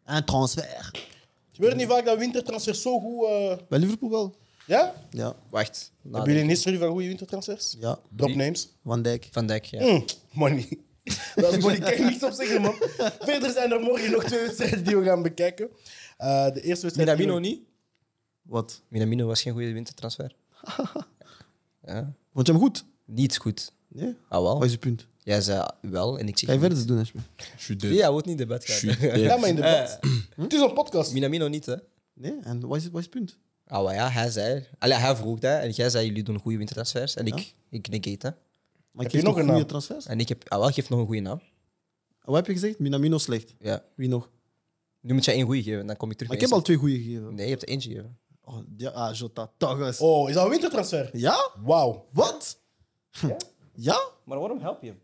Speaker 4: Een transfer.
Speaker 1: Je weet niet vaak dat wintertransfers zo goed... eh,
Speaker 4: Bij Liverpool wel?
Speaker 1: ja?
Speaker 4: Ja.
Speaker 3: Wacht. nadenken.
Speaker 1: Hebben jullie een historie van goede wintertransfers?
Speaker 4: Ja.
Speaker 1: Drop names.
Speaker 4: Van Dijk.
Speaker 3: Van Dijk, ja.
Speaker 1: Mm, money. Daar is money. Ik kan er niets op zeggen, man. Verder zijn er morgen nog twee wedstrijden die we gaan bekijken. Eh, de eerste wedstrijd...
Speaker 3: Minamino niet?
Speaker 4: Wat?
Speaker 3: Minamino was geen goede wintertransfer. ja.
Speaker 4: Vond je hem goed?
Speaker 3: Niet goed.
Speaker 4: Nee.
Speaker 3: Ah,
Speaker 4: Wat
Speaker 3: wel.
Speaker 4: is je punt?
Speaker 3: Jij zei ah, wel en ik zeg
Speaker 4: Ga je
Speaker 3: niet.
Speaker 4: verder doen, alsjeblieft.
Speaker 2: Je suis dead.
Speaker 3: Ja, wordt niet in debat
Speaker 2: Je
Speaker 3: gaan.
Speaker 2: suis dead.
Speaker 1: Ja, maar in de bad. Het is een podcast.
Speaker 3: Minamino niet, hè?
Speaker 4: Nee, en wat is, wat is het punt?
Speaker 3: Ah, maar ja, hij zei... Allee, hij vroeg dat en jij zei jullie doen goede wintertransfers. En ik, ik negate, hè.
Speaker 4: Maar ik
Speaker 1: je
Speaker 4: geef
Speaker 1: nog
Speaker 4: nog een
Speaker 1: een
Speaker 4: goede
Speaker 1: naam?
Speaker 4: transfers.
Speaker 3: En ik heb... Ah, wel, geef nog een goede naam.
Speaker 4: Wat heb je gezegd? Minamino slecht.
Speaker 3: Ja.
Speaker 4: Wie nog?
Speaker 3: Nu moet jij één goede geven, dan kom ik terug
Speaker 4: Maar ik
Speaker 3: met
Speaker 4: heb al twee goede gegeven.
Speaker 3: Nee, je hebt er eentje gegeven.
Speaker 4: Oh, ja, ah, Jota. Tagas.
Speaker 1: Oh, is dat een wintertransfer?
Speaker 4: Ja?
Speaker 1: Wauw.
Speaker 4: Wat? Ja?
Speaker 3: Maar waarom help je hem?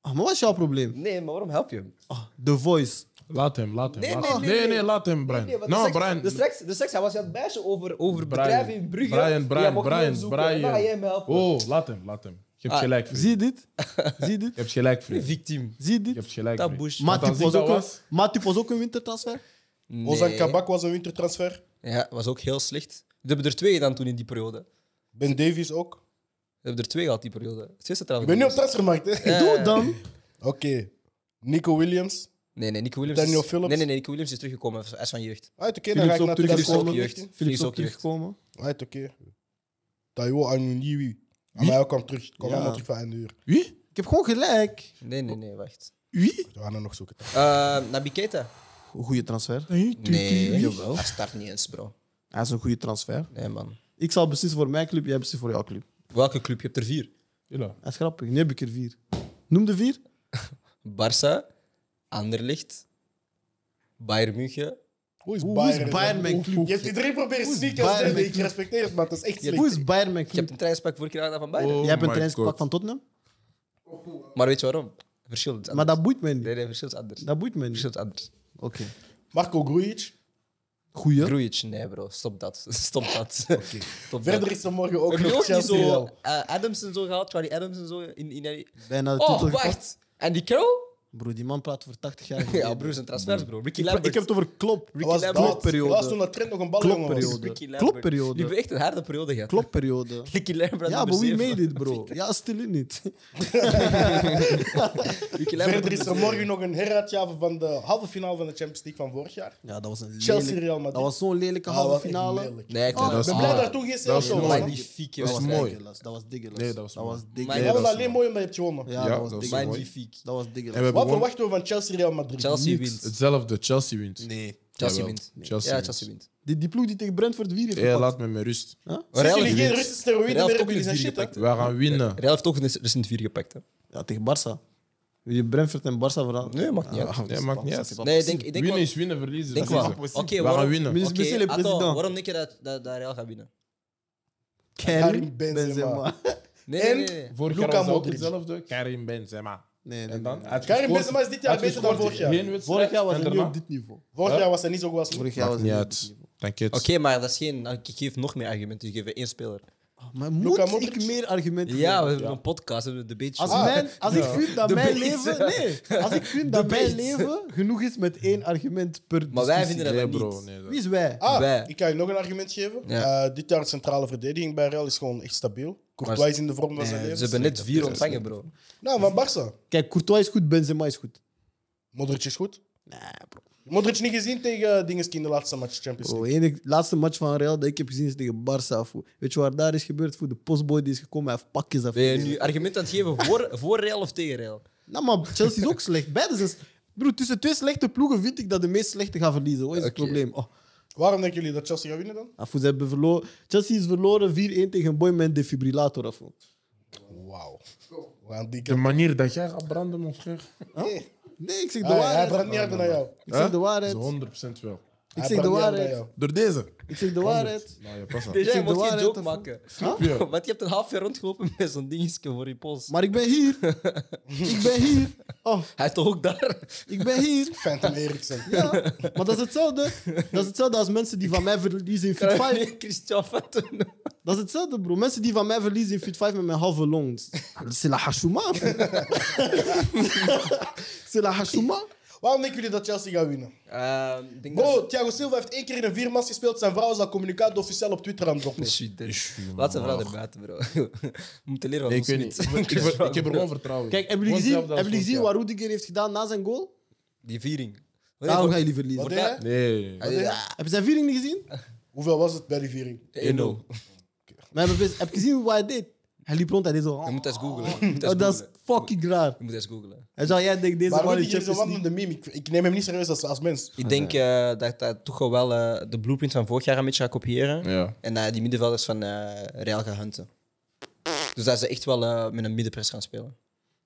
Speaker 4: Ah, maar wat is jouw probleem?
Speaker 3: Nee, maar waarom help je hem?
Speaker 4: Ah, The Voice.
Speaker 2: Laat hem, laat hem.
Speaker 3: Nee,
Speaker 2: laat
Speaker 3: nee,
Speaker 2: hem.
Speaker 3: nee,
Speaker 2: nee,
Speaker 3: nee.
Speaker 2: laat hem, Brian.
Speaker 3: Nee, want
Speaker 2: no,
Speaker 3: de seks-
Speaker 2: Nou, Brian. Oh,
Speaker 3: De seks, de seks, hij was aan het bijsje over, over
Speaker 2: Brian,
Speaker 3: bedrijven in Brugge.
Speaker 2: Brian,
Speaker 3: En jij
Speaker 2: Brian,
Speaker 3: mocht niet
Speaker 2: Brian,
Speaker 3: opzoeken.
Speaker 2: Brian.
Speaker 3: Dan ga jij hem helpen.
Speaker 2: Oh, laat hem, laat hem. Je hebt
Speaker 3: Ah,
Speaker 2: gelijk, vriend.
Speaker 4: Zie je dit? Zie je
Speaker 2: Je
Speaker 4: dit?
Speaker 2: hebt gelijk, vriend.
Speaker 3: Victiem.
Speaker 4: Zie je
Speaker 2: Je
Speaker 4: dit?
Speaker 2: hebt gelijk,
Speaker 3: Dat
Speaker 2: vriend.
Speaker 3: bush.
Speaker 2: Want
Speaker 4: Matip
Speaker 2: als ik
Speaker 4: was,
Speaker 2: dat
Speaker 4: ook een-
Speaker 2: was-
Speaker 4: Matip was ook een wintertransfer.
Speaker 1: Ozan Kabak was een wintertransfer.
Speaker 3: Ja, was ook heel slecht. We hebben er twee gedaan toen in die periode. We
Speaker 1: Ben Davies ook.
Speaker 3: hebben er twee gehad die periode. Twee
Speaker 1: Ik
Speaker 3: centrale
Speaker 1: ben nu op
Speaker 3: verdedigers.
Speaker 1: transfermarkt, hè?
Speaker 3: Ja.
Speaker 4: Doe het dan.
Speaker 1: Oké. Nico Williams.
Speaker 3: Nee, nee, Nico Williams.
Speaker 1: Daniel
Speaker 3: is,
Speaker 1: Phillips.
Speaker 3: Nee, nee, nee, Nico Williams is teruggekomen. Hij is van jeugd.
Speaker 1: Uit, oké, dan ga
Speaker 4: Philips
Speaker 1: ik
Speaker 4: ook
Speaker 1: naar
Speaker 4: teruggekomen.
Speaker 3: Ook jeugd.
Speaker 1: 2019.
Speaker 4: Philips
Speaker 3: Philips
Speaker 4: ook
Speaker 3: ook jeugd.
Speaker 4: teruggekomen.
Speaker 1: Uit, oké. Taiwo Anunyiwi. Maar hij kwam terug. Kwam allemaal terug van een uur.
Speaker 2: Wie?
Speaker 4: Ik heb gewoon gelijk.
Speaker 3: Nee, nee, nee, wacht.
Speaker 2: Wie?
Speaker 1: We gaan hem nog zoeken.
Speaker 3: Eh Nabi Keita?
Speaker 4: Goede transfer.
Speaker 2: Nee.
Speaker 3: Nee, hij start niet eens, bro.
Speaker 4: Hij is een goede transfer.
Speaker 3: Nee, man.
Speaker 4: Ik zal beslissen voor mijn club, jij beslist voor jouw club.
Speaker 3: Welke club? Je hebt er vier.
Speaker 2: Ja.
Speaker 4: Dat is grappig. Nu heb ik er vier. Noem de vier.
Speaker 3: Barça, Anderlicht, Bayern München.
Speaker 1: Hoe is
Speaker 4: Hoe-
Speaker 1: Bayern?
Speaker 4: hoe is Bayern mijn club?
Speaker 1: Je hebt die drie proberen
Speaker 4: is
Speaker 1: sneakers.
Speaker 4: Bayern
Speaker 1: hè?
Speaker 4: mijn
Speaker 1: Ik
Speaker 4: club?
Speaker 1: respecteer het, maar dat is echt
Speaker 3: Ja,
Speaker 1: slecht.
Speaker 4: Hoe is Bayern mijn
Speaker 3: Je hebt
Speaker 4: club?
Speaker 3: een trainingspak vorige keer gedaan van Bayern.
Speaker 2: Oh
Speaker 4: Jij hebt een
Speaker 2: my
Speaker 4: trainingspak
Speaker 2: God.
Speaker 4: van Tottenham,
Speaker 3: Maar weet je waarom? Verschil is anders.
Speaker 4: maar dat boeit mij niet.
Speaker 3: Nee, nee, verschil is anders.
Speaker 4: Dat boeit mij niet.
Speaker 3: Verschil is anders.
Speaker 4: Oké.
Speaker 1: Marco Grujic.
Speaker 4: Goeie.
Speaker 3: Grujic, nee bro, stop dat. Stop dat. Oké.
Speaker 1: Verder is er morgen ook
Speaker 3: Heb je
Speaker 1: nog
Speaker 3: ook niet
Speaker 1: Chelsea.
Speaker 3: zo
Speaker 1: Real.
Speaker 3: eh, Adams en zo gehaald? Charlie Adams en zo? In, in, in...
Speaker 4: Bijna de titel
Speaker 3: Oh,
Speaker 4: gepakt.
Speaker 3: wacht! En die Carroll?
Speaker 4: Bro, die man praat voor 80 jaar.
Speaker 3: Ja, broer, zijn transfers, bro. Ricky
Speaker 4: Ik, ik
Speaker 3: Lambert.
Speaker 4: heb het over klop.
Speaker 1: Dat was
Speaker 3: Lambert.
Speaker 1: dat. Dat was toen
Speaker 4: Klopperiode.
Speaker 1: dat Trent nog een bal was.
Speaker 4: Klopperiode.
Speaker 3: Ricky Lambert. Die
Speaker 4: Klopperiode.
Speaker 3: hebben echt een harde periode gehad.
Speaker 4: Klopperiode.
Speaker 3: Ricky Lambert
Speaker 4: Ja,
Speaker 3: nummer
Speaker 4: maar wie
Speaker 3: zeven.
Speaker 4: made it, bro? Ja, stil in niet.
Speaker 3: Ricky Lambert
Speaker 1: Verder is er
Speaker 3: nummer
Speaker 1: morgen nog een heruitgave van de halve finale van de Champions League van vorig jaar.
Speaker 4: Ja, dat was een
Speaker 1: Chelsea
Speaker 4: lelijk-
Speaker 1: Real Madrid.
Speaker 4: Dat was zo'n lelijke
Speaker 1: Ah,
Speaker 4: halve
Speaker 1: wat echt
Speaker 4: finale.
Speaker 1: lelijk.
Speaker 3: Nee, ik
Speaker 1: Ah,
Speaker 3: denk
Speaker 1: ik
Speaker 2: dat
Speaker 1: ben
Speaker 2: is-
Speaker 1: blij
Speaker 2: ah,
Speaker 1: dat er toen geen
Speaker 2: dat is
Speaker 1: Celso
Speaker 2: mooi.
Speaker 1: was.
Speaker 2: Maar
Speaker 1: hè?
Speaker 3: Magnifiek,
Speaker 4: Dat was
Speaker 3: jongen.
Speaker 2: mooi.
Speaker 4: ridiculous, Dat was diggeles.
Speaker 2: Nee, dat was mooi.
Speaker 4: diggeles.
Speaker 1: Je
Speaker 3: Ja, dat
Speaker 1: won
Speaker 2: is
Speaker 1: alleen mooi omdat je hebt gewonnen.
Speaker 4: Ja, dat
Speaker 2: Ja,
Speaker 4: was
Speaker 2: dat was
Speaker 4: diggeles.
Speaker 3: Magnifiek.
Speaker 4: Dat was
Speaker 2: En we
Speaker 4: diggeles.
Speaker 2: hebben
Speaker 1: Wat
Speaker 2: gewonnen.
Speaker 1: verwachten we van Chelsea Real Madrid?
Speaker 3: Chelsea
Speaker 4: Niks.
Speaker 3: wint.
Speaker 2: Hetzelfde, Chelsea wint.
Speaker 4: Nee.
Speaker 3: Chelsea
Speaker 2: Jawel.
Speaker 3: wint.
Speaker 2: Chelsea
Speaker 3: Ja,
Speaker 2: wint.
Speaker 3: Chelsea wint.
Speaker 4: Die, die ploeg die tegen Brentford 4 heeft
Speaker 2: Hey,
Speaker 4: gepakt.
Speaker 2: laat me met rust.
Speaker 1: Zitten
Speaker 3: Real
Speaker 1: jullie geen
Speaker 3: heeft-
Speaker 1: Russische steroïden meer
Speaker 3: Real heeft
Speaker 1: op
Speaker 3: ook
Speaker 1: jullie zijn
Speaker 3: een
Speaker 1: shit, hè?
Speaker 3: gepakt.
Speaker 2: We gaan winnen.
Speaker 3: Real heeft ook een recent vier gepakt. Hè.
Speaker 4: Ja, tegen Barça. Wil je Brentford en Barça veranderen?
Speaker 3: Nee, maakt niet uit.
Speaker 2: Nee, maakt niet uit.
Speaker 3: Nee, ik denk, ik denk
Speaker 2: Winnen
Speaker 3: wel.
Speaker 2: is winnen, verliezen.
Speaker 3: Denk
Speaker 2: is
Speaker 3: wel.
Speaker 2: verliezen.
Speaker 3: Oké,
Speaker 2: We
Speaker 3: waarom,
Speaker 2: gaan winnen.
Speaker 4: Meneer
Speaker 3: oké,
Speaker 4: Spesiale
Speaker 3: Atto,
Speaker 4: president.
Speaker 3: waarom denk je dat, dat, dat Real gaat winnen?
Speaker 4: Karim
Speaker 1: Karim
Speaker 4: Benzema.
Speaker 1: Benzema.
Speaker 3: Nee,
Speaker 1: En-
Speaker 3: nee, nee.
Speaker 2: Vorig
Speaker 1: Luka
Speaker 2: jaar was ook
Speaker 1: Modric.
Speaker 2: hetzelfde. Karim Benzema.
Speaker 4: Nee, nee,
Speaker 2: En dan?
Speaker 4: nee.
Speaker 2: Hij had
Speaker 1: Karim
Speaker 2: gescoord-
Speaker 1: Benzema is dit jaar
Speaker 2: hij had
Speaker 1: beter dan
Speaker 2: gescoord
Speaker 1: vorig jaar.
Speaker 2: geen wedstrijd
Speaker 4: Vorig jaar was
Speaker 2: en
Speaker 4: hij niet
Speaker 2: daarna-
Speaker 4: op dit niveau.
Speaker 1: Vorig
Speaker 2: Huh?
Speaker 1: jaar was hij niet zo goed als nu.
Speaker 4: Vorig jaar was
Speaker 2: Maakt
Speaker 4: hij
Speaker 2: niet
Speaker 4: niet op dit
Speaker 2: uit.
Speaker 4: niveau.
Speaker 2: Dank je.
Speaker 3: Oké, maar dat is geen. nou, Ik geef nog meer argumenten. Ik geef één speler.
Speaker 4: Maar moet
Speaker 1: Modric?
Speaker 4: ik meer argumenten
Speaker 3: Ja, we
Speaker 4: hebben?
Speaker 3: hebben een podcast. We hebben de beetje.
Speaker 4: Als, mijn, als ik vind dat
Speaker 3: Ah. De
Speaker 4: mijn
Speaker 3: bait.
Speaker 4: leven... Nee, als ik vind dat mijn
Speaker 3: bait.
Speaker 4: leven genoeg is met één argument per
Speaker 3: Maar wij
Speaker 4: discussie.
Speaker 3: vinden dat
Speaker 2: Nee,
Speaker 3: niet.
Speaker 2: bro. Nee, dat-
Speaker 4: Wie is wij?
Speaker 1: Ah,
Speaker 3: Wij.
Speaker 1: ik kan je nog een argument geven.
Speaker 3: Ja.
Speaker 1: Eh, dit jaar de centrale verdediging bij Real is gewoon echt stabiel. Courtois is in de vorm van zijn
Speaker 3: Ze
Speaker 1: leven.
Speaker 3: hebben net vier ontvangen, bro.
Speaker 1: Nou, van Barça.
Speaker 4: Kijk, Courtois is goed, Benzema is goed.
Speaker 1: Modric is goed.
Speaker 4: Nee, bro.
Speaker 1: Modric niet gezien tegen eh, Dingeski in de laatste match Champions
Speaker 4: Bro,
Speaker 1: League.
Speaker 4: de enige Oh, laatste match van Real dat ik heb gezien is tegen Barça. foe. Weet je waar daar is gebeurd? Voor de postboy die is gekomen, hij heeft pakjes
Speaker 3: Ben je
Speaker 4: afgegeven.
Speaker 3: nu argument aan het geven voor, voor Real of tegen Real?
Speaker 4: Nou, maar Chelsea is ook slecht. Beide zijn... s- Bro, tussen twee slechte ploegen vind ik dat de meest slechte gaan verliezen. Wat is het
Speaker 3: Oké.
Speaker 4: probleem? Oh.
Speaker 1: Waarom denken jullie dat Chelsea gaat winnen dan?
Speaker 4: Afo, ze hebben verloren. Chelsea is verloren 4-1 tegen een boy met een defibrillator. Afo.
Speaker 1: Wauw. We gaan die
Speaker 2: De manier dat jij gaat branden, mijn vriend.
Speaker 4: Nee, ik zeg de
Speaker 1: Ah, ja, hij
Speaker 4: waarheid.
Speaker 1: brandt niet harder dan jou.
Speaker 4: Ik zeg de
Speaker 2: Dat is
Speaker 4: waarheid.
Speaker 2: 100% wel.
Speaker 1: Hij
Speaker 4: zeg
Speaker 1: brandt niet
Speaker 4: de
Speaker 1: harder
Speaker 4: waarheid.
Speaker 1: dan jou.
Speaker 2: Door deze.
Speaker 4: Ik zeg de waarheid.
Speaker 2: Nou, je past aan.
Speaker 3: Dus jij
Speaker 4: zeg de
Speaker 3: moet geen
Speaker 4: waarheid,
Speaker 3: joke
Speaker 4: of-
Speaker 3: maken.
Speaker 4: Huh?
Speaker 3: Want je hebt een half jaar rondgelopen met zo'n dingetje voor je pols.
Speaker 4: Maar ik ben hier. ik ben hier. Oh,
Speaker 3: Hij is toch ook daar?
Speaker 4: ik ben hier.
Speaker 1: Phantom Eriksen.
Speaker 4: Ja, maar dat is hetzelfde. Dat is hetzelfde als mensen die van mij verliezen in Fit 5.
Speaker 3: Christian Fatten.
Speaker 4: Dat is hetzelfde, bro. Mensen die van mij verliezen in Fit 5 met mijn halve longs. Dat is la hashouma. C'est la hashouma.
Speaker 1: Waarom denken jullie dat Chelsea gaat winnen?
Speaker 3: Ehm, ik denk dat-
Speaker 1: Bro, Thiago Silva heeft één keer in een viermans gespeeld. Zijn vrouw is al communicaat officieel op Twitter aan het droppen.
Speaker 3: Shit, dit- Laat ze vooral erbuiten, bro. We moeten leren van
Speaker 2: Nee, ik
Speaker 3: ons
Speaker 2: weet niet.
Speaker 3: niet.
Speaker 2: Ik, ik, ik heb er gewoon vertrouwen in.
Speaker 4: Kijk, hebben jullie gezien,
Speaker 2: Gewoon hetzelfde als
Speaker 4: hebben jullie gezien
Speaker 2: vorig
Speaker 4: wat Rudiger heeft gedaan na zijn goal?
Speaker 3: Die viering.
Speaker 4: Daarom gaan jullie
Speaker 1: Wat
Speaker 4: verliezen.
Speaker 1: deed hij?
Speaker 2: jaar. Nee.
Speaker 3: Ah, ja.
Speaker 4: Heb je zijn viering niet gezien?
Speaker 1: Hoeveel was het bij die viering?
Speaker 3: 1-0.
Speaker 4: Maar heb je, heb je gezien wat hij deed? Hij liep rond, hij deed zo...
Speaker 3: Je
Speaker 4: Oh,
Speaker 3: moet eens googlen. Je moet eens
Speaker 4: dat is
Speaker 3: googlen.
Speaker 4: fucking raar.
Speaker 3: Je moet eens googlen.
Speaker 4: En zou jij denkt, deze
Speaker 1: Maar
Speaker 4: man is
Speaker 1: Rudiger is een
Speaker 4: Champions League.
Speaker 1: wandelende meme. Ik, ik neem hem niet serieus als, als mens.
Speaker 3: Ik denk eh, dat dat toch wel eh, de blueprint van vorig jaar een beetje gaat kopiëren.
Speaker 2: Ja.
Speaker 3: En eh, die middenvelders van eh, Real gaan hunten. Dus dat ze echt wel eh, met een middenpress gaan spelen.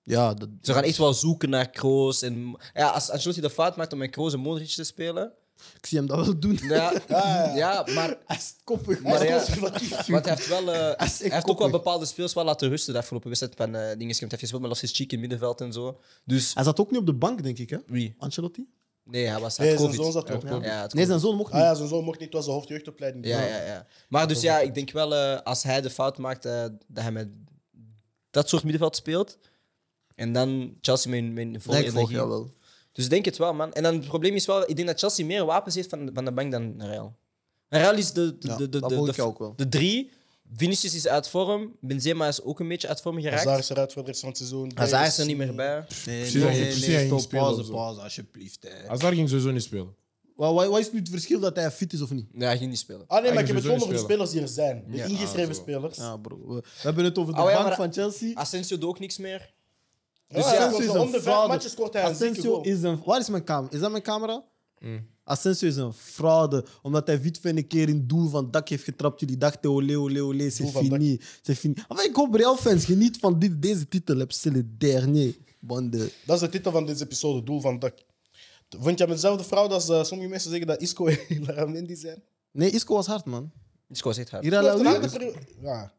Speaker 4: Ja, dat,
Speaker 3: Ze gaan echt wel zoeken naar Kroos. En, ja, als Ancelotti de fout maakt om met Kroos en Modric te spelen,
Speaker 4: Ik zie hem dat wel doen.
Speaker 3: Ja,
Speaker 1: ja.
Speaker 3: ja. maar
Speaker 4: Hij is koppig.
Speaker 3: Maar
Speaker 4: hij is
Speaker 3: ja.
Speaker 4: conservatief.
Speaker 3: wat hij heeft wel. eh,
Speaker 4: Hij is echt
Speaker 3: hij heeft ook wel
Speaker 4: koppig.
Speaker 3: bepaalde speels wel laten rusten de afgelopen wedstrijd. Van eh dingen. Hij heeft gespeeld met Lassis Cheek in middenveld en zo. Dus
Speaker 4: Hij zat ook niet op de bank, denk ik, hè?
Speaker 3: wie?
Speaker 4: Ancelotti?
Speaker 3: Nee, hij was. hij
Speaker 1: Nee,
Speaker 3: had
Speaker 1: zijn
Speaker 3: COVID.
Speaker 1: zoon zat er ook.
Speaker 4: Ja.
Speaker 3: Ja, het
Speaker 4: Nee, zijn zoon mocht
Speaker 1: Ah
Speaker 4: niet.
Speaker 1: ja, zijn zoon mocht niet, het was de hoofdjeugdopleiding.
Speaker 3: Ja, ja, ja. Maar dus ja, ik denk wel eh, als hij de fout maakt eh, dat hij met dat soort middenveld speelt. En dan Chelsea met, met volle
Speaker 4: Nee, ik volg
Speaker 3: energie.
Speaker 4: jou wel.
Speaker 3: Dus ik denk het wel, man. En dan het probleem is wel, ik denk dat Chelsea meer wapens heeft van, van de bank dan Real. En Real is de, de,
Speaker 4: Ja,
Speaker 3: de, de,
Speaker 4: dat
Speaker 3: de,
Speaker 4: volg
Speaker 3: de,
Speaker 4: ik jou ook wel.
Speaker 3: de drie. Vinicius is uit vorm. Benzema is ook een beetje uit vorm
Speaker 1: Hazard
Speaker 3: geraakt.
Speaker 1: is eruit voor de rest van het seizoen.
Speaker 3: Hazard is er niet meer bij.
Speaker 4: Nee,
Speaker 2: Precies,
Speaker 4: nee,
Speaker 2: hij-
Speaker 4: nee,
Speaker 2: precies, hij
Speaker 4: nee,
Speaker 2: ging
Speaker 4: stop,
Speaker 2: spelen of
Speaker 4: pauze,
Speaker 2: zo.
Speaker 4: pauze, alsjeblieft. hè.
Speaker 2: Hazard ging sowieso niet spelen.
Speaker 4: Wat, wat, wat is nu het verschil dat hij fit is of niet?
Speaker 3: Nee, hij ging niet spelen.
Speaker 1: Ah nee, maar ik heb het
Speaker 2: Eigenlijk
Speaker 1: gewoon over de
Speaker 2: sowieso
Speaker 1: spelers die er zijn. De
Speaker 2: Ja,
Speaker 1: ingeschreven
Speaker 2: ah, zo.
Speaker 1: spelers.
Speaker 4: Ja, bro. We, we hebben het over de
Speaker 3: Oh, ja,
Speaker 4: bank
Speaker 3: maar-
Speaker 4: van Chelsea.
Speaker 3: Asensio doet ook niks meer.
Speaker 1: Dus
Speaker 4: Ja,
Speaker 1: ja,
Speaker 4: Asensio
Speaker 1: scoort
Speaker 4: is
Speaker 1: er
Speaker 4: een
Speaker 1: om de vijf
Speaker 4: fraude.
Speaker 1: matches scoort hij een zieke
Speaker 4: Asensio
Speaker 1: goal.
Speaker 4: is een... Waar is mijn camera? Is dat mijn camera?
Speaker 3: Hmm.
Speaker 4: Asensio is een fraude, omdat hij Witven een keer in het doel van het dak heeft getrapt. Jullie dachten, olé, olé, olé, c'est
Speaker 1: Doel van het dak.
Speaker 4: fini. c'est fini. Enfin, ik hoop Real-fans, geniet van dit, deze titel. Heb c'est le dernier. Bande.
Speaker 1: Dat is de titel van deze episode, Doel van het Dak. Vond je hem dezelfde vrouw als eh, sommige mensen zeggen dat Isco en Laramendi zijn?
Speaker 4: Nee, Isco was hard, man.
Speaker 3: Dus was echt hard.
Speaker 4: Hier
Speaker 1: Hij
Speaker 4: aan
Speaker 1: heeft een harde
Speaker 4: Laoui-
Speaker 1: peri- ja.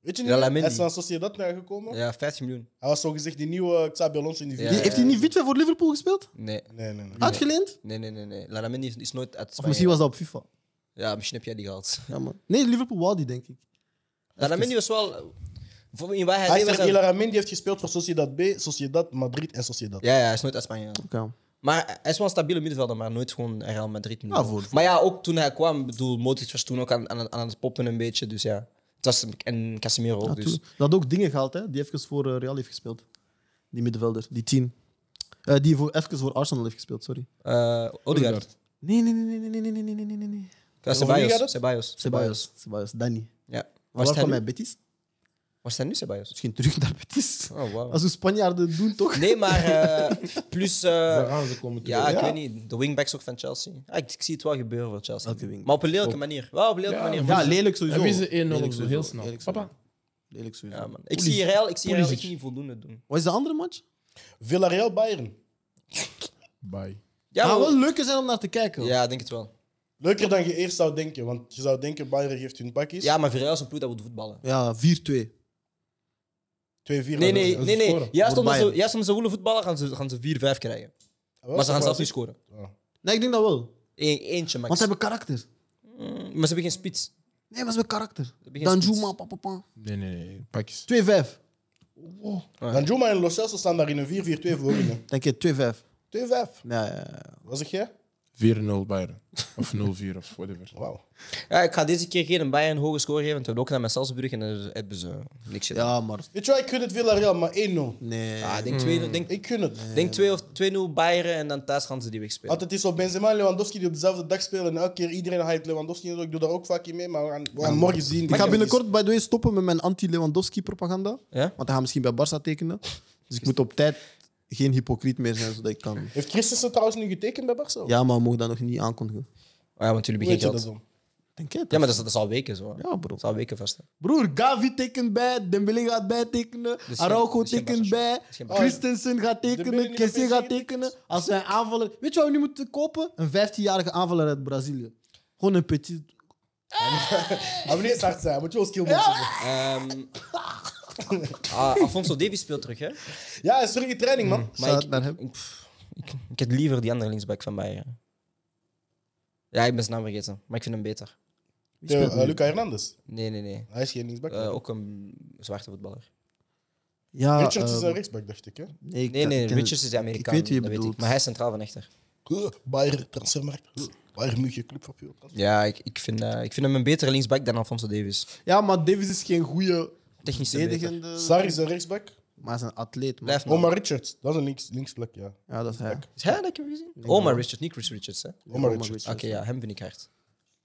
Speaker 1: Weet je niet,
Speaker 3: Ja,
Speaker 1: hij
Speaker 3: Laramendi.
Speaker 1: is van Sociedad naar gekomen.
Speaker 3: Ja, 15 miljoen.
Speaker 1: Hij was zogezegd die nieuwe eh, Xabi Alonso in die
Speaker 3: Ja,
Speaker 4: Die-
Speaker 1: video.
Speaker 4: Heeft hij niet Witven voor Liverpool gespeeld?
Speaker 3: Nee,
Speaker 1: Nee, nee,
Speaker 4: Ah,
Speaker 1: nee.
Speaker 4: Uitgeleend?
Speaker 3: nee, nee. nee, nee. Laramendi is- is nooit uit
Speaker 4: Of
Speaker 3: Spanje.
Speaker 4: misschien was dat op FIFA.
Speaker 3: Ja, misschien heb jij die gehaald.
Speaker 4: Ja, man. Nee, Liverpool wou die, denk ik.
Speaker 3: Laramendi was wel... voor- In waar hij
Speaker 1: Hij
Speaker 3: deed
Speaker 1: zegt
Speaker 3: was
Speaker 1: dat
Speaker 3: hij-
Speaker 1: Laramendi heeft gespeeld voor Sociedad B, Sociedad Madrid en Sociedad.
Speaker 3: Ja, ja, hij is nooit uit Spanje.
Speaker 4: Oké.
Speaker 3: Maar hij is wel een stabiele middenvelder, maar nooit gewoon Real Madrid. middenvelder.
Speaker 4: voor- voor-
Speaker 3: Maar ja, ook toen hij kwam, ik bedoel, Modric was toen ook aan, aan, aan het poppen een beetje, dus ja. Het was, en Casemiro ook,
Speaker 4: Ja,
Speaker 3: dus.
Speaker 4: tuurlijk. Dat had ook dingen gehaald, hè, die even voor eh, Real heeft gespeeld. Die middenvelder, die tien. Eh, die voor, even voor Arsenal heeft gespeeld, sorry.
Speaker 3: Eh Odegaard.
Speaker 2: Odegaard.
Speaker 4: Nee, nee, nee, nee, nee, nee, nee, nee, nee, nee, nee, nee.
Speaker 3: Ja,
Speaker 1: Odegaard
Speaker 3: Ceballos.
Speaker 1: het?
Speaker 3: Ceballos.
Speaker 4: Ceballos. Ceballos, Danny.
Speaker 3: Ja.
Speaker 4: Waar
Speaker 3: Was hij
Speaker 4: kwam
Speaker 3: nu?
Speaker 4: hij? Betis?
Speaker 3: Waar is hij nu, Ceballos?
Speaker 4: Misschien terug naar Betis.
Speaker 3: Oh, wow.
Speaker 4: Als we Spanjaarden doen, toch?
Speaker 3: Nee, maar eh, plus... eh,
Speaker 2: Daar gaan ze komen terug.
Speaker 3: ja, ik
Speaker 4: Ja.
Speaker 3: weet niet. De wingbacks ook van Chelsea. Ah, ik, ik zie het wel gebeuren voor Chelsea.
Speaker 4: Elke wing.
Speaker 3: Maar op een lelijke manier. Wel op een lelijke
Speaker 2: Ja,
Speaker 3: manier.
Speaker 4: Ja, lelijk sowieso.
Speaker 2: Hebben ze 1-0
Speaker 4: Lelijk
Speaker 2: of zo,
Speaker 4: sowieso.
Speaker 2: heel snel.
Speaker 4: Lelijk
Speaker 2: Papa.
Speaker 4: sowieso. Lelijk sowieso.
Speaker 3: Ja, Ah, man. Ik zie Real, ik zie Real
Speaker 2: Pulisic.
Speaker 3: echt niet voldoende doen.
Speaker 4: Wat is de andere match?
Speaker 1: Villarreal Bayern.
Speaker 2: Bye.
Speaker 3: Ja,
Speaker 4: Gaan
Speaker 3: maar-
Speaker 4: Ah, wel leuker zijn om naar te kijken.
Speaker 3: ja, ik denk het wel.
Speaker 1: Leuker dan je eerst zou denken, want je zou denken Bayern geeft hun pakjes.
Speaker 3: Ja, maar Real is een ploeg dat moet voetballen.
Speaker 4: Ja, 4-2.
Speaker 1: 2-4.
Speaker 3: Nee,
Speaker 1: maar-
Speaker 3: nee,
Speaker 2: dat is
Speaker 3: nee. nee.
Speaker 2: scoren.
Speaker 3: Juist, omdat ze,
Speaker 4: Bayern.
Speaker 3: juist omdat ze willen voetballen, gaan ze, gaan ze 4-5 krijgen.
Speaker 1: Wel,
Speaker 3: Maar ze gaan zelf niet
Speaker 1: verrassing.
Speaker 3: scoren.
Speaker 4: Nee, ik denk dat wel.
Speaker 3: Eén- eentje max.
Speaker 4: Want ze hebben karakter.
Speaker 3: Mm, maar ze hebben geen spits.
Speaker 4: Nee, maar ze hebben karakter.
Speaker 3: hebben geen
Speaker 4: Danjuma,
Speaker 3: spits.
Speaker 4: papa, papa.
Speaker 2: Nee, nee, nee. Pakjes.
Speaker 4: 2-5.
Speaker 1: Danjuma en Lo Celso staan daar in een 4-4-2 voor in.
Speaker 4: Denk je, 2-5.
Speaker 1: 2-5.
Speaker 4: Ja, ja, ja.
Speaker 1: Wat zeg jij?
Speaker 2: 4-0 Bayern. Of 0-4 of whatever.
Speaker 1: Wauw.
Speaker 3: Ja, ik ga deze keer geen Bayern een hoge score geven, want we hebben ook naar met Salzburg en dan hebben ze niks gedaan.
Speaker 4: Ja, maar
Speaker 1: Weet je wat, ik gun het Villarreal, maar 1-0.
Speaker 4: nee.
Speaker 3: Ah, ik denk 2 denk,
Speaker 1: Ik gun het.
Speaker 3: denk 2 of 2-0 Bayern en dan thuis gaan ze die wegspelen.
Speaker 1: Want het is op Benzema en Lewandowski die op dezelfde dag spelen. En elke keer iedereen hype Lewandowski. Ik doe daar ook vaak in mee, maar we gaan, we gaan morgen zien.
Speaker 4: ik ga binnenkort, by the way, stoppen met mijn anti-Lewandowski-propaganda.
Speaker 3: Ja?
Speaker 4: Want hij gaat misschien bij Barça tekenen. Dus ik moet op tijd geen hypocriet meer zijn, zodat ik kan...
Speaker 1: Heeft Christensen trouwens nu getekend bij Barca?
Speaker 4: Ja, maar we mogen dat nog niet aankondigen.
Speaker 3: Ah, ja, want jullie
Speaker 1: Hoe weet je
Speaker 3: beginnen
Speaker 1: dat
Speaker 3: geld.
Speaker 1: dan?
Speaker 4: Denk je?
Speaker 3: Ja, maar dat is, dat is al weken zo. hè.
Speaker 4: Ja, bro.
Speaker 3: Dat is al weken vast. hè.
Speaker 4: Broer, Gavi tekent bij, Dembele gaat bijtekenen,
Speaker 3: geen-
Speaker 4: Araujo
Speaker 3: dat is geen
Speaker 4: tekent
Speaker 3: Barca
Speaker 4: bij,
Speaker 3: shot. Dat is geen Barca
Speaker 4: Christensen gaat
Speaker 1: Dembele
Speaker 4: tekenen,
Speaker 1: niet
Speaker 4: Kessie
Speaker 1: bij
Speaker 4: gaat
Speaker 1: PSG
Speaker 4: tekenen. Als wij aanvallen... Weet je wat we nu moeten kopen? Een 15-jarige aanvaller uit Brazilië. Gewoon een petit...
Speaker 1: Hij moet niet eens hard zijn, hij moet wel skill ja.
Speaker 3: Ehm, ah, Alfonso Davies speelt terug, hè?
Speaker 1: ja, hij is terug in training, man.
Speaker 4: Zou het naar hem?
Speaker 3: Ik, pff, ik, ik heb liever die andere linksback van Bayern. Ja, ik ben zijn naam vergeten, maar ik vind hem beter.
Speaker 4: Wie
Speaker 1: Theo,
Speaker 4: speelt
Speaker 1: eh,
Speaker 4: nu?
Speaker 1: Luca Hernandez.
Speaker 3: Nee, nee, nee.
Speaker 1: Hij is geen linksback.
Speaker 3: Eh, ook een zwarte voetballer.
Speaker 4: Ja,
Speaker 1: Richards is
Speaker 4: eh,
Speaker 1: een rechtsback, dacht ik. Hè?
Speaker 4: nee, ik
Speaker 3: Nee, nee,
Speaker 4: ken-
Speaker 3: Richards is Amerikaan.
Speaker 4: Ik weet wie je
Speaker 3: dat
Speaker 4: bedoelt.
Speaker 3: maar hij is centraal van echter.
Speaker 1: Huh, Bayern, Eh, transfermarkt. Huh, Bayern München, club van veel.
Speaker 3: Ja, ik, ik, vind, eh, ik vind hem een betere linksback dan Alfonso Davies.
Speaker 4: Ja, maar Davis is geen goede
Speaker 3: Technisch beter.
Speaker 4: verdedigende.
Speaker 1: Eh, Sarri is een rechtsback.
Speaker 4: Maar hij is een atleet, man.
Speaker 3: Blijf nog.
Speaker 1: Omar Richards, dat is een links, linksback, ja.
Speaker 4: Ja, dat is hij.
Speaker 3: Is hij dat ik heb gezien? Omar Richards, niet Chris Richards. hè? Oké,
Speaker 1: Omar
Speaker 4: Omar
Speaker 1: Richards.
Speaker 4: Richards.
Speaker 3: ja, hem vind ik hard.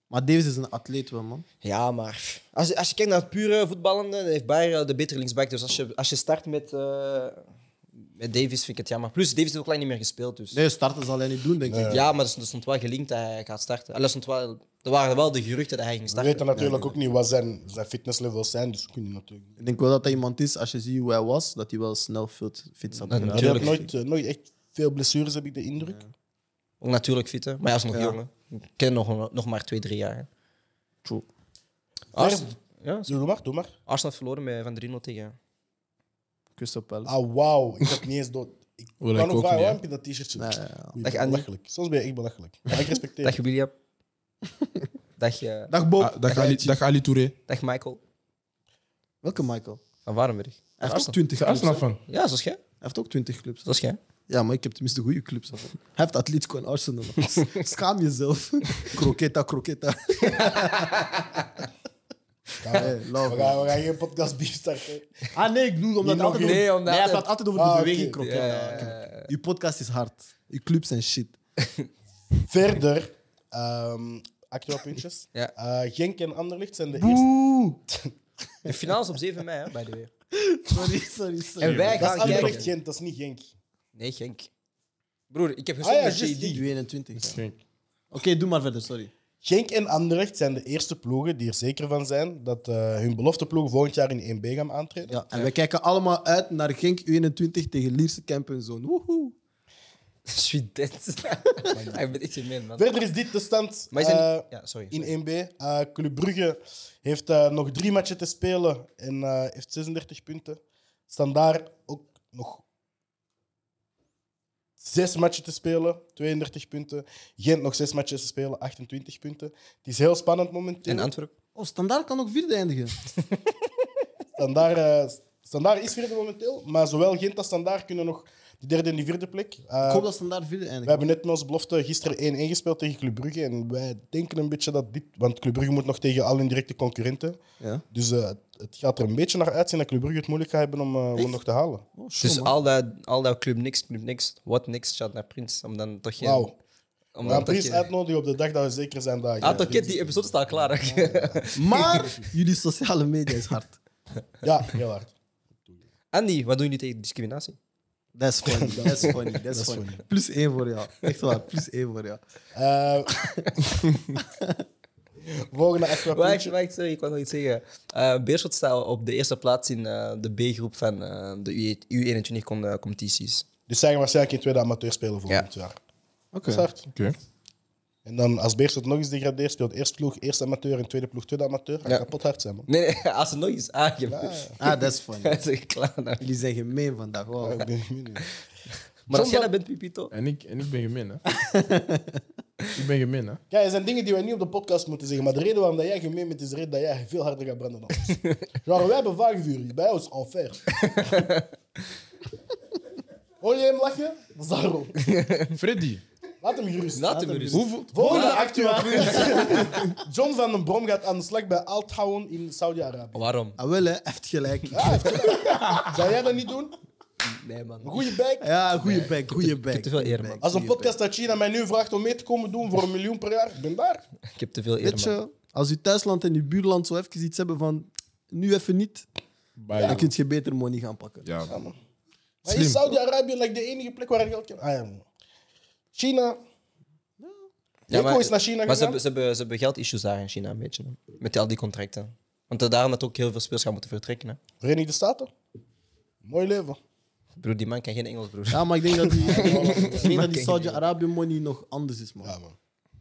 Speaker 4: Maar Davis is een atleet wel, man.
Speaker 3: Ja, maar pff, als, je- als je kijkt naar het pure voetballende, dan heeft Bayern de betere linksback. Dus als je, als je start met, eh, met Davies, vind ik het jammer. Plus, Davies heeft ook lang niet meer gespeeld. Dus.
Speaker 4: Nee, starten zal hij niet doen, denk ik.
Speaker 3: Ja, maar er stond- er stond wel gelinkt dat hij gaat starten. Allee, Er, stond wel, er waren wel de geruchten dat hij ging
Speaker 1: We
Speaker 3: starten.
Speaker 1: weten natuurlijk ook niet wat zijn, zijn fitnesslevels zijn, dus we kunnen natuurlijk niet.
Speaker 4: Ik denk wel dat hij iemand is, als je ziet hoe hij was, dat hij wel snel fit, fit zou
Speaker 3: Ja,
Speaker 4: kunnen
Speaker 1: Hij
Speaker 3: natuurlijk.
Speaker 4: raken.
Speaker 1: heeft nooit, eh, nooit echt veel blessures, heb ik de indruk.
Speaker 3: Ook natuurlijk fietsen. Maar hij is nog
Speaker 4: Ja.
Speaker 3: jong. hè. Ik ken nog, nog maar twee, drie jaar.
Speaker 4: True.
Speaker 3: Ars- ja,
Speaker 1: Doe maar, doe maar.
Speaker 3: Arsenal heeft verloren met Van 3-0 tegen.
Speaker 4: Crystal Palace.
Speaker 1: Ah, wauw. Ik heb niet eens dood. Ik
Speaker 2: Wil
Speaker 1: kan
Speaker 2: ik
Speaker 1: ook vragen,
Speaker 2: ook niet,
Speaker 1: waarom heb je dat t-shirtje?
Speaker 4: Nee, ja, ja.
Speaker 1: Je
Speaker 3: Dag,
Speaker 1: bent
Speaker 3: Andy.
Speaker 1: belachelijk. Soms ben je echt belachelijk. Maar ik respecteer
Speaker 3: Dag
Speaker 1: je.
Speaker 3: William. dag, eh,
Speaker 4: Dag Bob.
Speaker 2: Ah, dag, Ali, dag Ali Touré.
Speaker 3: dag Michael
Speaker 4: Welke Michael?
Speaker 3: van Warenberg.
Speaker 4: Hij heeft ook
Speaker 3: Arsenal.
Speaker 4: 20
Speaker 2: Is er
Speaker 4: clubs.
Speaker 2: Arsenal
Speaker 4: hè?
Speaker 2: van?
Speaker 3: Ja, zoals jij.
Speaker 4: Hij heeft ook 20 clubs.
Speaker 3: Zoals jij.
Speaker 4: Ja, maar ik heb tenminste goede clubs. hè. Hij heeft Atletico en Arsenal. Schaam jezelf. Croqueta, croqueta.
Speaker 1: Gaan we-
Speaker 4: Hey, love
Speaker 1: we,
Speaker 4: man.
Speaker 1: gaan, we gaan geen podcast beef starten.
Speaker 4: Ah nee, ik doe omdat
Speaker 1: Niet
Speaker 4: het altijd
Speaker 1: nog-
Speaker 3: nee,
Speaker 4: over...
Speaker 3: omdat
Speaker 4: hij
Speaker 3: het-
Speaker 4: praat altijd over
Speaker 1: Ah,
Speaker 4: de
Speaker 1: oké.
Speaker 4: beweging croqueta.
Speaker 3: Ja, ja,
Speaker 4: Oké.
Speaker 3: ja, ja.
Speaker 4: Uw podcast is hard. Uw clubs zijn shit.
Speaker 1: Verder, ehm actueel puntjes.
Speaker 3: Ja.
Speaker 1: Eh, Genk en Anderlicht zijn de eerste.
Speaker 4: Oeh.
Speaker 3: De finale is op 7 mei, hè, by the way.
Speaker 4: Sorry, sorry, sorry.
Speaker 3: En wij
Speaker 1: Dat is
Speaker 3: gaan
Speaker 1: Anderlicht,
Speaker 3: kijken.
Speaker 1: Gent, dat is niet Genk.
Speaker 3: Nee, Genk. Broer, ik
Speaker 1: Ah
Speaker 3: heb gezongen
Speaker 1: ja,
Speaker 3: met
Speaker 1: juist
Speaker 3: JD.
Speaker 1: die.
Speaker 4: Die 21. ja. Oké, doe maar verder, sorry.
Speaker 1: Genk en Anderlecht zijn de eerste ploegen die er zeker van zijn dat eh, hun belofteploeg volgend jaar in 1B gaan aantreden.
Speaker 4: Ja, en wij kijken allemaal uit naar Genk 21 tegen Lierse Kemp en zo'n. Woehoe.
Speaker 3: Student. Hij bent echt een man, man.
Speaker 1: Verder is dit de stand
Speaker 3: Maar is dat
Speaker 1: eh,
Speaker 3: niet- Ja, sorry.
Speaker 1: in 1B. Eh, Club Brugge heeft eh, nog drie matchen te spelen en eh, heeft 36 punten. Staan daar ook nog zes matchen te spelen, 32 punten. Gent nog zes matches te spelen, 28 punten. Het is heel spannend momenteel.
Speaker 3: In Antwerpen.
Speaker 4: Oh, standaard kan ook vierde eindigen.
Speaker 1: Standaard, eh, Standaard is vierde momenteel, maar zowel Gent als Standaard kunnen nog die derde en die vierde plek. Eh,
Speaker 4: Ik hoop dat standaard vierde eindigt.
Speaker 1: We hebben net met onze belofte gisteren 1-1 gespeeld tegen Club Brugge. En wij denken een beetje dat dit... Want Club Brugge moet nog tegen al hun directe concurrenten.
Speaker 4: Ja.
Speaker 1: Dus eh, het- het gaat er een beetje naar uitzien dat Club Brugge het moeilijk gaat hebben om eh, om
Speaker 4: Echt?
Speaker 1: nog te halen.
Speaker 4: Oh, show,
Speaker 3: Dus
Speaker 4: man.
Speaker 3: al dat, al dat club niks, club niks, wat niks, shout naar Prins. Om dan toch geen...
Speaker 1: Wauw.
Speaker 3: Om
Speaker 1: We gaan
Speaker 3: dan toch
Speaker 1: Prins
Speaker 3: geen...
Speaker 1: uitnodigen op de dag dat we zeker zijn dat...
Speaker 3: Ah, toch, kid, die episode staat al klaar. hè.
Speaker 4: Maar jullie sociale media is hard.
Speaker 1: Ja, heel hard.
Speaker 3: Andy, wat doen jullie tegen discriminatie?
Speaker 4: That's funny, that's funny, that's, funny. Plus één voor jou. Echt waar, plus één voor jou.
Speaker 1: Eh, Volgende extra
Speaker 3: Wacht,
Speaker 1: puntje.
Speaker 3: wacht, sorry, ik wou nog iets zeggen. Eh Beerschot staat op de eerste plaats in eh, de B-groep van eh, de eh, U21-competities.
Speaker 1: Dus zij gaan waarschijnlijk in tweede amateur spelen volgend jaar.
Speaker 4: Oké.
Speaker 1: Dat is hard.
Speaker 2: Oké.
Speaker 1: En dan als Beerschot nog eens degradeert, speelt eerst ploeg eerste amateur en tweede ploeg tweede amateur. Gaat
Speaker 3: Ja.
Speaker 1: kapot hard zijn, man.
Speaker 3: Nee, nee, als het nog eens aangeeft.
Speaker 4: Ah, that's
Speaker 3: Ja.
Speaker 4: funny.
Speaker 3: is echt klaar. nou.
Speaker 4: Jullie zijn gemeen vandaag. Wow.
Speaker 1: Ik ben- ik ben-
Speaker 3: Maar als jij
Speaker 1: Zondag-
Speaker 3: dat bent, Pipito.
Speaker 2: En ik, en ik ben gemeen, hè? ik ben gemeen, hè?
Speaker 1: Ja, er zijn dingen die wij niet op de podcast moeten zeggen. Maar de reden waarom dat jij gemeen bent, is de reden dat jij veel harder gaat branden dan ons. Genre, wij hebben vaagvuur. Bij ons onver. Hoor je hem lachen? Dat is daarom.
Speaker 2: Freddy,
Speaker 1: Laat hem gerust.
Speaker 3: Laat hem gerust.
Speaker 2: hoeveel,
Speaker 1: Volgende actua. John van den Brom gaat aan de slag bij Al Town in Saudi-Arabië.
Speaker 3: Waarom?
Speaker 4: Ah, wel, hè? Hij heeft gelijk.
Speaker 1: Zou jij dat niet doen?
Speaker 3: Nee, man. Eh,
Speaker 1: Een goede bijk.
Speaker 4: Ja, goede back, goede back.
Speaker 3: heb te veel eer, man.
Speaker 1: Als een podcast uit China mij nu vraagt om mee te komen doen voor een miljoen per jaar, ik ben daar.
Speaker 3: Ik heb te veel eer,
Speaker 4: Weet
Speaker 3: man.
Speaker 4: je, als je thuisland en je buurland zo even iets hebben van nu even niet,
Speaker 2: Bye.
Speaker 4: dan kun je beter money gaan pakken.
Speaker 2: Ja,
Speaker 1: Maar in
Speaker 2: Slim.
Speaker 1: Saudi-Arabië lijkt de enige plek waar ik geld kan. Ah, ja. man. China. Ja,
Speaker 3: maar-
Speaker 1: is naar China
Speaker 3: Maar ze
Speaker 1: gegaan.
Speaker 3: hebben, ze, hebben, ze hebben geldissues daar in China, een beetje. hè. Met al die contracten. Want eh, daarom dat ook heel veel spelers gaan moeten vertrekken. Hè.
Speaker 1: Verenigde Staten. Mooi leven.
Speaker 3: Broer, die man kan geen Engels, broer.
Speaker 4: Ja, maar ik denk dat die, ik denk dat
Speaker 3: ken je
Speaker 4: die Saudi-Arabië money nog anders is, man.
Speaker 1: Ja, man.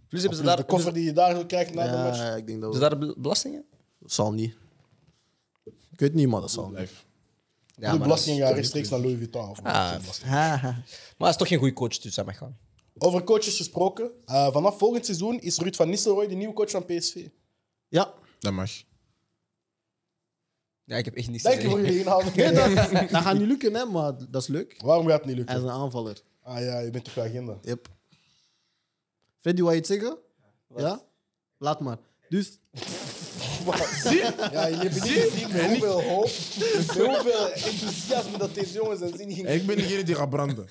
Speaker 3: Plus hebben ze daar,
Speaker 1: de koffer die je daar zo krijgt na de
Speaker 4: Ja,
Speaker 1: match.
Speaker 4: ik denk dat
Speaker 3: hebben ze daar bel- belastingen?
Speaker 4: Zal niet. Ik weet niet, maar dat zal niet.
Speaker 2: live.
Speaker 3: Ja,
Speaker 1: de
Speaker 3: maar dat is-
Speaker 1: belasting gaat rechtstreeks naar Louis Vuitton. Of
Speaker 3: Ah.
Speaker 1: geen belasting.
Speaker 3: Maar hij is toch geen goede coach, dus hij mag gaan.
Speaker 1: Over coaches gesproken. eh, vanaf volgend seizoen is Ruud van Nistelrooy de nieuwe coach van PSV.
Speaker 4: Ja,
Speaker 2: Dat mag.
Speaker 3: Ja, ik heb echt niks te
Speaker 1: Dank je
Speaker 3: zeggen.
Speaker 1: voor jullie inhouding.
Speaker 4: dat gaat niet lukken, hè, maar dat is leuk.
Speaker 1: Waarom gaat het niet
Speaker 4: Hij is
Speaker 1: lukken?
Speaker 4: een aanvaller.
Speaker 1: Ah ja, je bent op je agenda.
Speaker 4: Yep. Freddy, wou je iets zeggen? Ja? Laat maar. Dus,
Speaker 1: Ja, je hebt niet gezien met hoeveel hoop, met hoeveel enthousiasme dat deze jongens en zin ging.
Speaker 2: Ik ben degene die gaat branden.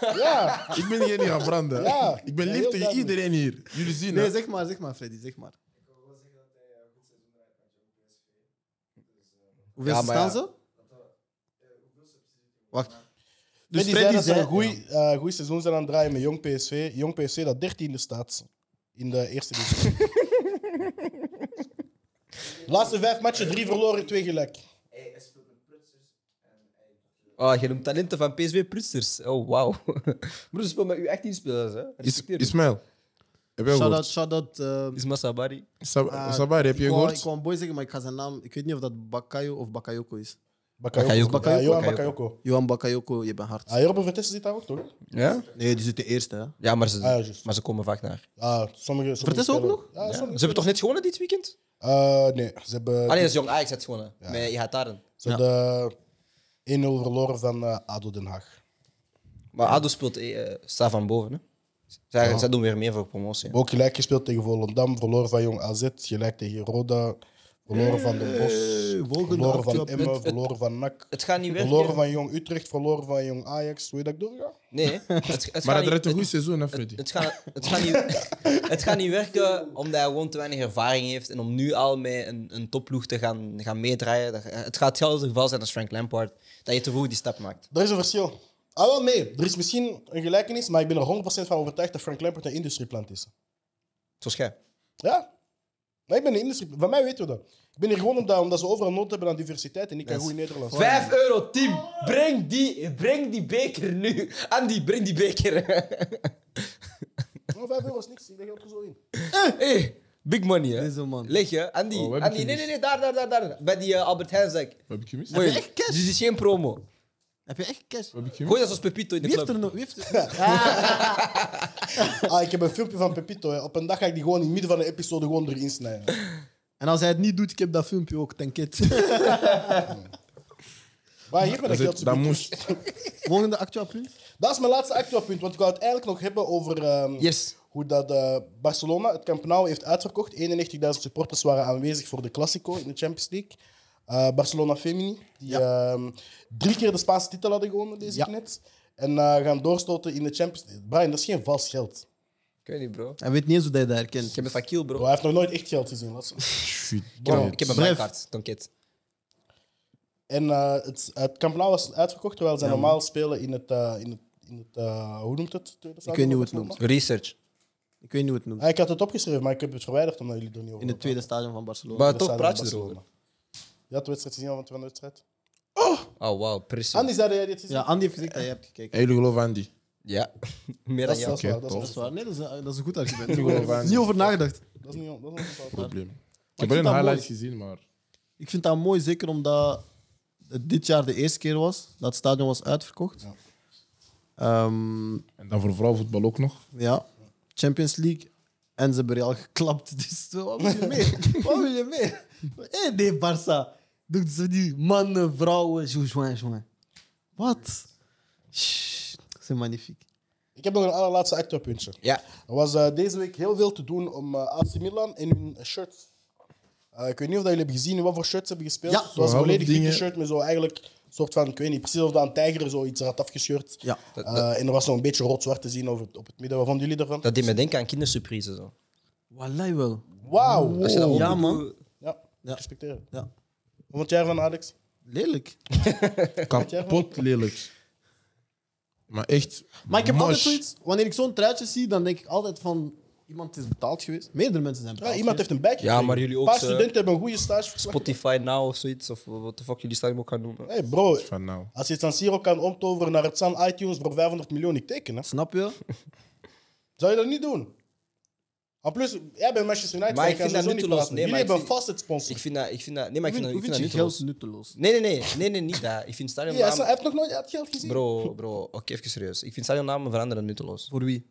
Speaker 1: Ja,
Speaker 2: Ik ben degene die gaat branden.
Speaker 1: Ja.
Speaker 2: Ik ben
Speaker 1: Ja,
Speaker 2: lief
Speaker 1: heel
Speaker 2: tegen
Speaker 1: duidelijk.
Speaker 2: iedereen hier. Jullie zien
Speaker 4: nee,
Speaker 2: het.
Speaker 4: zeg maar, zeg maar, Freddy, zeg maar. Hoeveel
Speaker 3: Ja, maar ja.
Speaker 4: staan ze? Wacht.
Speaker 1: dus
Speaker 4: Dus
Speaker 1: die zei
Speaker 4: Freddy
Speaker 1: dat ze
Speaker 4: zei-
Speaker 1: een goed seizoen zijn aan het draaien met Jong PSV. Jong PSV dat dertiende staat in de eerste divisie. Laatste vijf matchen, drie verloren, twee gelijk.
Speaker 3: Oh, je noemt talenten van PSV-prutsers. Oh, wauw. Broer, speel met u 18 spelers, hè?
Speaker 2: Is,
Speaker 3: Respecteer me.
Speaker 2: Ismail, heb jij
Speaker 4: Shout-out,
Speaker 2: gehoord?
Speaker 4: shout-out... eh,
Speaker 3: Is Masabari.
Speaker 2: Sab-
Speaker 4: ah,
Speaker 2: Sabari, heb
Speaker 4: ik
Speaker 2: je
Speaker 4: wou-
Speaker 2: gehoord?
Speaker 4: Ik wou een boy zeggen, maar ik ga zijn naam... Ik weet niet of dat Bakayo of Bakayoko is.
Speaker 1: Bakayoko.
Speaker 3: Bakayoko.
Speaker 1: Ja, Johan
Speaker 3: Bakayoko.
Speaker 1: Bakayoko.
Speaker 4: Johan Bakayoko, je bent hard.
Speaker 1: Ah, Jorbo Vertessen zit daar ook, toch?
Speaker 3: Ja?
Speaker 4: Nee, die zit de eerste, hè.
Speaker 3: Ja, maar ze,
Speaker 1: Ah, ja, juist.
Speaker 3: maar ze komen vaak naar.
Speaker 1: Ah, sommige, sommige
Speaker 4: Vertessen ook
Speaker 1: spelers-
Speaker 4: nog?
Speaker 1: Ja,
Speaker 3: Ja. Ze
Speaker 1: sommige
Speaker 3: hebben toch net gewonnen dit weekend?
Speaker 1: spelers. Eh, nee, ze hebben,
Speaker 3: Ah nee, dat is Jong Ajax het gewonnen. Met Ihataren.
Speaker 1: ze hebben 1-0 verloren van eh, ADO Den Haag.
Speaker 3: Maar ADO speelt, eh, eh, staat van boven, hè? Zij, zij doen weer meer voor promotie. hè.
Speaker 1: Ook gelijk gespeeld tegen Volendam, verloren van Jong AZ, gelijk tegen Roda, verloren van Den
Speaker 4: Hey,
Speaker 1: Bosch,
Speaker 4: volgende
Speaker 1: verloren van
Speaker 4: actie op-
Speaker 1: Emmen,
Speaker 3: Het- het-
Speaker 1: verloren van NAC,
Speaker 3: Het gaat niet werken.
Speaker 1: verloren van Jong Utrecht, verloren van Jong Ajax. Weet je dat ik doorga?
Speaker 3: Nee, hè. het, het, gaat
Speaker 2: Maar dat
Speaker 3: niet-
Speaker 2: redt een goed
Speaker 3: het,
Speaker 2: seizoen, hè, Freddy?
Speaker 3: het, gaat, het, gaat niet, het gaat niet werken omdat hij gewoon te weinig ervaring heeft. En om nu al met een, een topploeg te gaan, gaan meedraaien. dat- het gaat hetzelfde geval zijn als Frank Lampard. Dat je te vroeg die stap maakt.
Speaker 1: Er is een verschil. Ah, wel nee, er is misschien een gelijkenis, maar ik ben er 100% van overtuigd dat Frank Lampert een industrieplant is.
Speaker 3: Zoals jij.
Speaker 1: Ja? Nee, ik ben een industrie. Van mij weten we dat. Ik ben hier gewoon omdat, omdat ze overal nood hebben aan diversiteit en ik kan goed Nederlands.
Speaker 3: 5 euro, Tim. Breng die, breng die beker nu. Andy, breng die beker.
Speaker 1: Oh, vijf euro is niks, ik leg er ook zo in.
Speaker 3: hey, big money, hè.
Speaker 4: Deze man.
Speaker 3: Leg je, Andy.
Speaker 2: Oh, we hebben
Speaker 3: Andy,
Speaker 2: geen
Speaker 3: nee, nee, nee, daar, daar, daar, daar. Bij die eh, Albert Heijnzak.
Speaker 2: Wat heb ik gemist?
Speaker 3: Mooi.
Speaker 4: je echt cash?
Speaker 3: Dit is geen promo.
Speaker 4: Heb je echt cash?
Speaker 2: Wat heb ik gemist?
Speaker 3: Gooi dat als Pepito in de
Speaker 4: Wie heeft
Speaker 3: club.
Speaker 4: er nog... Wie heeft er...
Speaker 1: Ah, ik heb een filmpje van Pepito. hè. Op een dag ga ik die gewoon in het midden van de episode gewoon erin snijden.
Speaker 4: En als hij het niet doet, ik heb dat filmpje ook, denk it.
Speaker 1: Maar hier met dat
Speaker 2: Dat,
Speaker 1: geld.
Speaker 2: is- dat
Speaker 1: zo-
Speaker 2: moest.
Speaker 4: Volgende actueel punt.
Speaker 1: Dat is mijn laatste actueel punt, want ik wou het eigenlijk nog hebben over ehm,
Speaker 3: Yes.
Speaker 1: hoe dat, eh, Barcelona het Camp Nou heeft uitverkocht. 91.000 supporters waren aanwezig voor de Classico in de Champions League. Eh, Barcelona Femini, die ehm, drie keer de Spaanse titel hadden gewonnen, deze
Speaker 4: Ja.
Speaker 1: net. En eh, gaan doorstoten in de Champions League. Brian, dat is geen vals geld.
Speaker 3: Ik weet niet, bro.
Speaker 4: Hij weet niet eens hoe hij dat herkent.
Speaker 3: Ik heb een fakiel, bro.
Speaker 1: Bro, hij heeft nog nooit echt geld gezien. Dat is-
Speaker 2: Shit.
Speaker 3: Ik heb, een- ik heb een
Speaker 4: Blijf.
Speaker 3: bankkaart, Tonket.
Speaker 1: En eh, het, het Camp Nou was uitverkocht, terwijl zij normaal spelen in het... eh, in het, in het eh, hoe noemt het? Tweede stadion
Speaker 4: weet niet
Speaker 1: van
Speaker 4: hoe
Speaker 1: Barcelona?
Speaker 4: het noemt.
Speaker 3: Research.
Speaker 4: Ik weet niet hoe het noemt.
Speaker 1: Ah, ik had het opgeschreven, maar ik heb het verwijderd omdat jullie er niet over
Speaker 4: In het
Speaker 1: hadden.
Speaker 4: tweede Ah, stadion van Barcelona.
Speaker 3: Maar
Speaker 1: Dat
Speaker 3: toch
Speaker 1: zijn
Speaker 3: praat je
Speaker 1: Barcelona.
Speaker 3: erover.
Speaker 1: Je had de wedstrijd gezien van de wedstrijd.
Speaker 3: Oh, wauw, precies.
Speaker 1: Andy zei dat jij dit gezien
Speaker 4: Ja, Andy heeft gezegd dat jij hebt gekeken.
Speaker 2: En jullie geloven aan die.
Speaker 3: Ja, meer
Speaker 1: dat
Speaker 3: dan
Speaker 1: is, dat
Speaker 3: jou.
Speaker 1: is waar,
Speaker 2: Oké,
Speaker 1: dat is
Speaker 2: tof.
Speaker 4: Dat is waar. Nee, dat is een, dat is een goed argument.
Speaker 2: geloof aan.
Speaker 4: niet over nagedacht.
Speaker 1: Dat is niet, dat is niet waar.
Speaker 2: Probleem. Ik
Speaker 4: vind
Speaker 2: heb alleen
Speaker 4: dat
Speaker 2: highlights gezien, maar...
Speaker 4: Ik vind dat mooi, zeker omdat het dit jaar de eerste keer was dat het stadion was uitverkocht.
Speaker 1: Ja.
Speaker 4: Ehm,
Speaker 2: En dan voor vrouwenvoetbal ook nog.
Speaker 4: ja. Champions League. En ze hebben Real geklapt. Dus wat wil je meer? wat wil je meer? Hé, nee, Barça. Doet ze die mannen, vrouwen, joe, joe, joe. Wat? Shh, Ze magnifiek.
Speaker 1: Ik heb nog een allerlaatste actorpuntje.
Speaker 3: Ja,
Speaker 1: Er was eh, deze week heel veel te doen om eh, AC Milan in hun shirts. Eh, ik weet niet of dat jullie hebben gezien wat voor shirts ze hebben gespeeld.
Speaker 4: Ja,
Speaker 1: het was
Speaker 2: zo
Speaker 1: een volledig
Speaker 2: half
Speaker 1: witte
Speaker 2: dingen.
Speaker 1: shirt met zo eigenlijk een soort van, ik weet niet precies of dat een tijger zoiets had afgescheurd.
Speaker 4: Ja.
Speaker 1: Eh, en er was zo'n beetje rood-zwart te zien over het- op het midden. Wat vonden jullie ervan?
Speaker 3: dat deed me denken aan kindersurprises. Zo.
Speaker 4: Wallahi wel.
Speaker 1: Wauw!
Speaker 3: Als je dat
Speaker 4: ja,
Speaker 3: open-
Speaker 4: man.
Speaker 1: Ja,
Speaker 4: Ja.
Speaker 1: respecteren.
Speaker 4: Oh, Ja.
Speaker 1: Wat vond jij ervan, Alex?
Speaker 4: Lelijk.
Speaker 2: Kapot lelijk. Maar echt...
Speaker 4: Maar ik heb
Speaker 2: mosh.
Speaker 4: altijd zoiets, wanneer ik zo'n truitje zie, dan denk ik altijd van iemand is betaald geweest. Meerdere mensen zijn
Speaker 1: Ja,
Speaker 4: betaald.
Speaker 1: iemand heeft een badge.
Speaker 3: Ja, maar jullie ook,
Speaker 1: Een paar
Speaker 3: ze-
Speaker 1: studenten hebben een goede stage verslag.
Speaker 3: Spotify Now of zoiets, of wat de fuck jullie stadion ook gaan noemen.
Speaker 1: Hey bro,
Speaker 2: Van nou.
Speaker 1: als je het San Siro kan omtoveren naar het San iTunes voor 500 miljoen, ik teken. Hè.
Speaker 4: Snap je?
Speaker 1: Zou je dat niet doen? En plus, jij bent Manchester United,
Speaker 3: Maar
Speaker 1: je
Speaker 3: ik
Speaker 1: kan
Speaker 3: vind
Speaker 1: sowieso
Speaker 3: dat
Speaker 1: niet
Speaker 3: nutteloos.
Speaker 1: praten.
Speaker 3: Nee,
Speaker 1: Jullie
Speaker 3: maar ik
Speaker 1: hebben een
Speaker 3: vind-
Speaker 1: facet sponsor.
Speaker 3: Ik vind dat, ik vind dat, nee, maar ik vind dat, ik
Speaker 4: Hoe
Speaker 3: vind
Speaker 4: vind
Speaker 3: dat
Speaker 4: je
Speaker 3: nutteloos.
Speaker 4: geld nutteloos?
Speaker 3: Nee, nee, nee, nee, nee, niet dat. Ik vind
Speaker 1: Ja, hij
Speaker 3: stadionnamen...
Speaker 1: is- hij heeft nog nooit het geld gezien.
Speaker 3: Bro, bro, oké, even serieus. Ik vind stadionnamen veranderen nutteloos.
Speaker 4: Voor wie?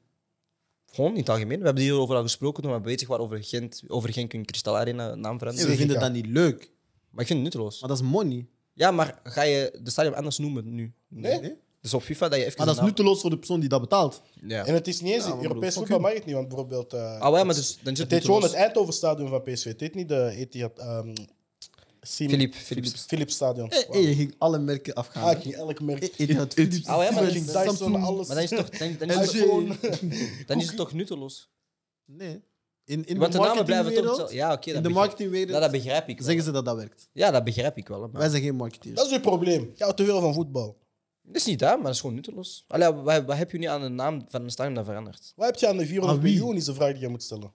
Speaker 3: Gewoon in het algemeen. We hebben hierover al gesproken toen we bezig waren over Gent, over Genk en Kristal Arena, naam
Speaker 4: Nee,
Speaker 3: veranderen.
Speaker 4: we
Speaker 1: Zeker.
Speaker 4: vinden dat niet leuk.
Speaker 3: Maar ik vind het nutteloos.
Speaker 4: Maar dat is money.
Speaker 3: Ja, maar ga je de stadion anders noemen nu?
Speaker 1: Nee?
Speaker 3: Dus op FIFA dat je even...
Speaker 4: Maar dat is
Speaker 3: een naam-
Speaker 4: nutteloos voor de persoon die dat betaalt.
Speaker 1: En
Speaker 3: Ja.
Speaker 1: het is niet eens,
Speaker 4: Ja, maar
Speaker 1: Europees
Speaker 4: broer, fuck
Speaker 1: voetbal
Speaker 4: you.
Speaker 1: mag het niet, want bijvoorbeeld... eh,
Speaker 3: Ah, ja, maar dus, dan
Speaker 1: het
Speaker 3: is het
Speaker 1: heet gewoon het
Speaker 3: nutteloos.
Speaker 1: Eindhovenstadion van PSV. Het heet niet de Etihad... ehm Sim-
Speaker 3: Philippe, Eh, Philips.
Speaker 1: Philips Stadion.
Speaker 4: Hé, hé, je ging alle merken afgaan.
Speaker 1: Ah, ik
Speaker 4: hè.
Speaker 1: ging Oh elk merk.
Speaker 4: Hé, hé, dat Philips,
Speaker 3: Ah, ja, maar dat is-
Speaker 4: Philips,
Speaker 1: Dyson,
Speaker 4: Samsung.
Speaker 1: alles.
Speaker 3: Maar dan is het toch, dan, dan is
Speaker 4: dus
Speaker 3: het,
Speaker 1: iPhone.
Speaker 3: dan is het toch nutteloos?
Speaker 4: Nee. In, in
Speaker 3: Want
Speaker 4: de
Speaker 3: de namen blijven toch
Speaker 4: marketingwereld,
Speaker 3: hetzelfde. Ja, oké,
Speaker 4: in
Speaker 3: dat,
Speaker 4: de
Speaker 3: begrijp- ja,
Speaker 4: marketingwereld
Speaker 3: dat begrijp ik wel.
Speaker 4: zeggen ze dat dat werkt.
Speaker 3: Ja, dat begrijp ik wel. hè, Maar...
Speaker 4: Wij zijn geen marketeers.
Speaker 1: Dat is uw probleem. Ja, te veel van voetbal.
Speaker 3: Dat is niet dat, maar dat is gewoon nutteloos. Allee, wat, wat heb je nu aan de naam van een stadion dat verandert?
Speaker 1: Wat heb je aan de 400
Speaker 4: Aan Ah, wie?
Speaker 1: miljoen, is de vraag die je moet stellen.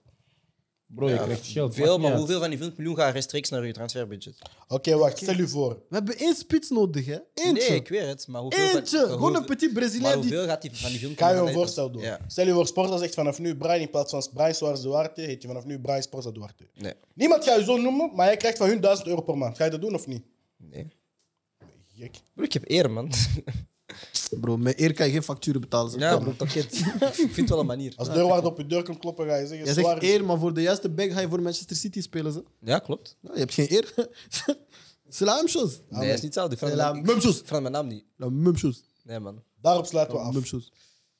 Speaker 5: Bro, je krijgt geld.
Speaker 3: Veel,
Speaker 5: maakt
Speaker 3: maar
Speaker 5: niet
Speaker 3: hoeveel van die 20 miljoen gaat rechtstreeks naar je transferbudget?
Speaker 1: Oké,
Speaker 4: Ah,
Speaker 1: wacht. Stel u voor.
Speaker 4: We hebben één spits nodig, hè? Eentje.
Speaker 3: Nee, ik weet het. Maar hoeveel van-
Speaker 4: Eentje.
Speaker 3: maar
Speaker 4: Gewoon
Speaker 3: hoeveel-
Speaker 4: een petit
Speaker 3: Maar
Speaker 4: Braziliaan die...
Speaker 3: hoeveel gaat die van die 20
Speaker 1: Kan je
Speaker 3: miljoen
Speaker 1: een
Speaker 3: naar-
Speaker 1: voorstel doen?
Speaker 3: Ja.
Speaker 1: Stel je voor, Sporza zegt vanaf nu Brian in plaats van Brian Suarez Duarte, heet je vanaf nu Brian Sporza Duarte.
Speaker 3: Nee.
Speaker 1: Niemand gaat je zo noemen, maar jij krijgt van hun 1000 euro per maand. Ga je dat doen of niet?
Speaker 3: nee.
Speaker 1: Gek.
Speaker 3: Bro, ik heb eer, man.
Speaker 4: Bro, met eer kan je geen facturen betalen. zeg.
Speaker 3: Ja,
Speaker 4: Kan.
Speaker 3: bro, pakket. ik vind het wel een manier.
Speaker 1: Als de deurwaarder op je deur komt kloppen, ga je zeggen:
Speaker 4: Jij zegt
Speaker 1: Suarez.
Speaker 4: eer, maar voor de juiste bag ga je voor Manchester City spelen. Ze.
Speaker 3: Ja, klopt.
Speaker 4: Ja, je hebt geen eer. Salam, shows.
Speaker 3: Nee, dat is niet hetzelfde. Ik verander
Speaker 4: Salam,
Speaker 3: mijn naam-
Speaker 4: mumshoes.
Speaker 3: ik verander mijn naam niet.
Speaker 4: Nou, Mumshoes.
Speaker 3: Nee, man.
Speaker 1: Daarop sluiten we af.
Speaker 4: Mumshoes.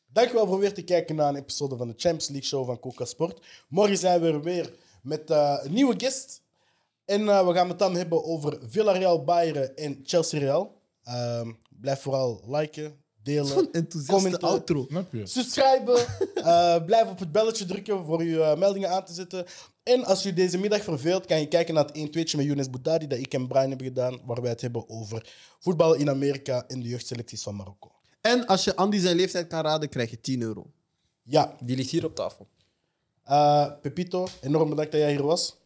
Speaker 1: Dankjewel voor weer te kijken naar een episode van de Champions League Show van Coca Sport. Morgen zijn we er weer met eh, een nieuwe guest. En eh, we gaan het dan hebben over Villarreal, Bayern en Chelsea Real. Ehm, blijf vooral liken, delen,
Speaker 4: Zo'n enthousiaste
Speaker 1: commenten,
Speaker 4: outro.
Speaker 5: uit. Snap je?
Speaker 1: subscriben. Eh, blijf op het belletje drukken voor uw eh, meldingen aan te zetten. En als u deze middag verveelt, kan je kijken naar het 1 2 met Younes Boudadi dat ik en Brian hebben gedaan, waar wij het hebben over voetbal in Amerika en de jeugdselecties van Marokko.
Speaker 4: En als je Andy zijn leeftijd kan raden, krijg je 10 euro.
Speaker 1: Ja,
Speaker 3: Die ligt hier op tafel.
Speaker 1: Eh, Pepito, enorm bedankt dat jij hier was.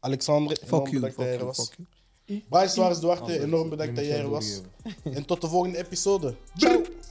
Speaker 1: Alexandre, enorm
Speaker 4: Fuck you.
Speaker 1: bedankt dat
Speaker 4: Fuck
Speaker 1: jij er
Speaker 4: you,
Speaker 1: was.
Speaker 4: fuck you.
Speaker 1: Brian Suarez Duarte, enorm
Speaker 5: Ik
Speaker 1: bedankt
Speaker 5: ben
Speaker 1: dat jij er
Speaker 5: het
Speaker 1: was.
Speaker 5: doorgegeven.
Speaker 1: En tot de volgende episode. Ciao!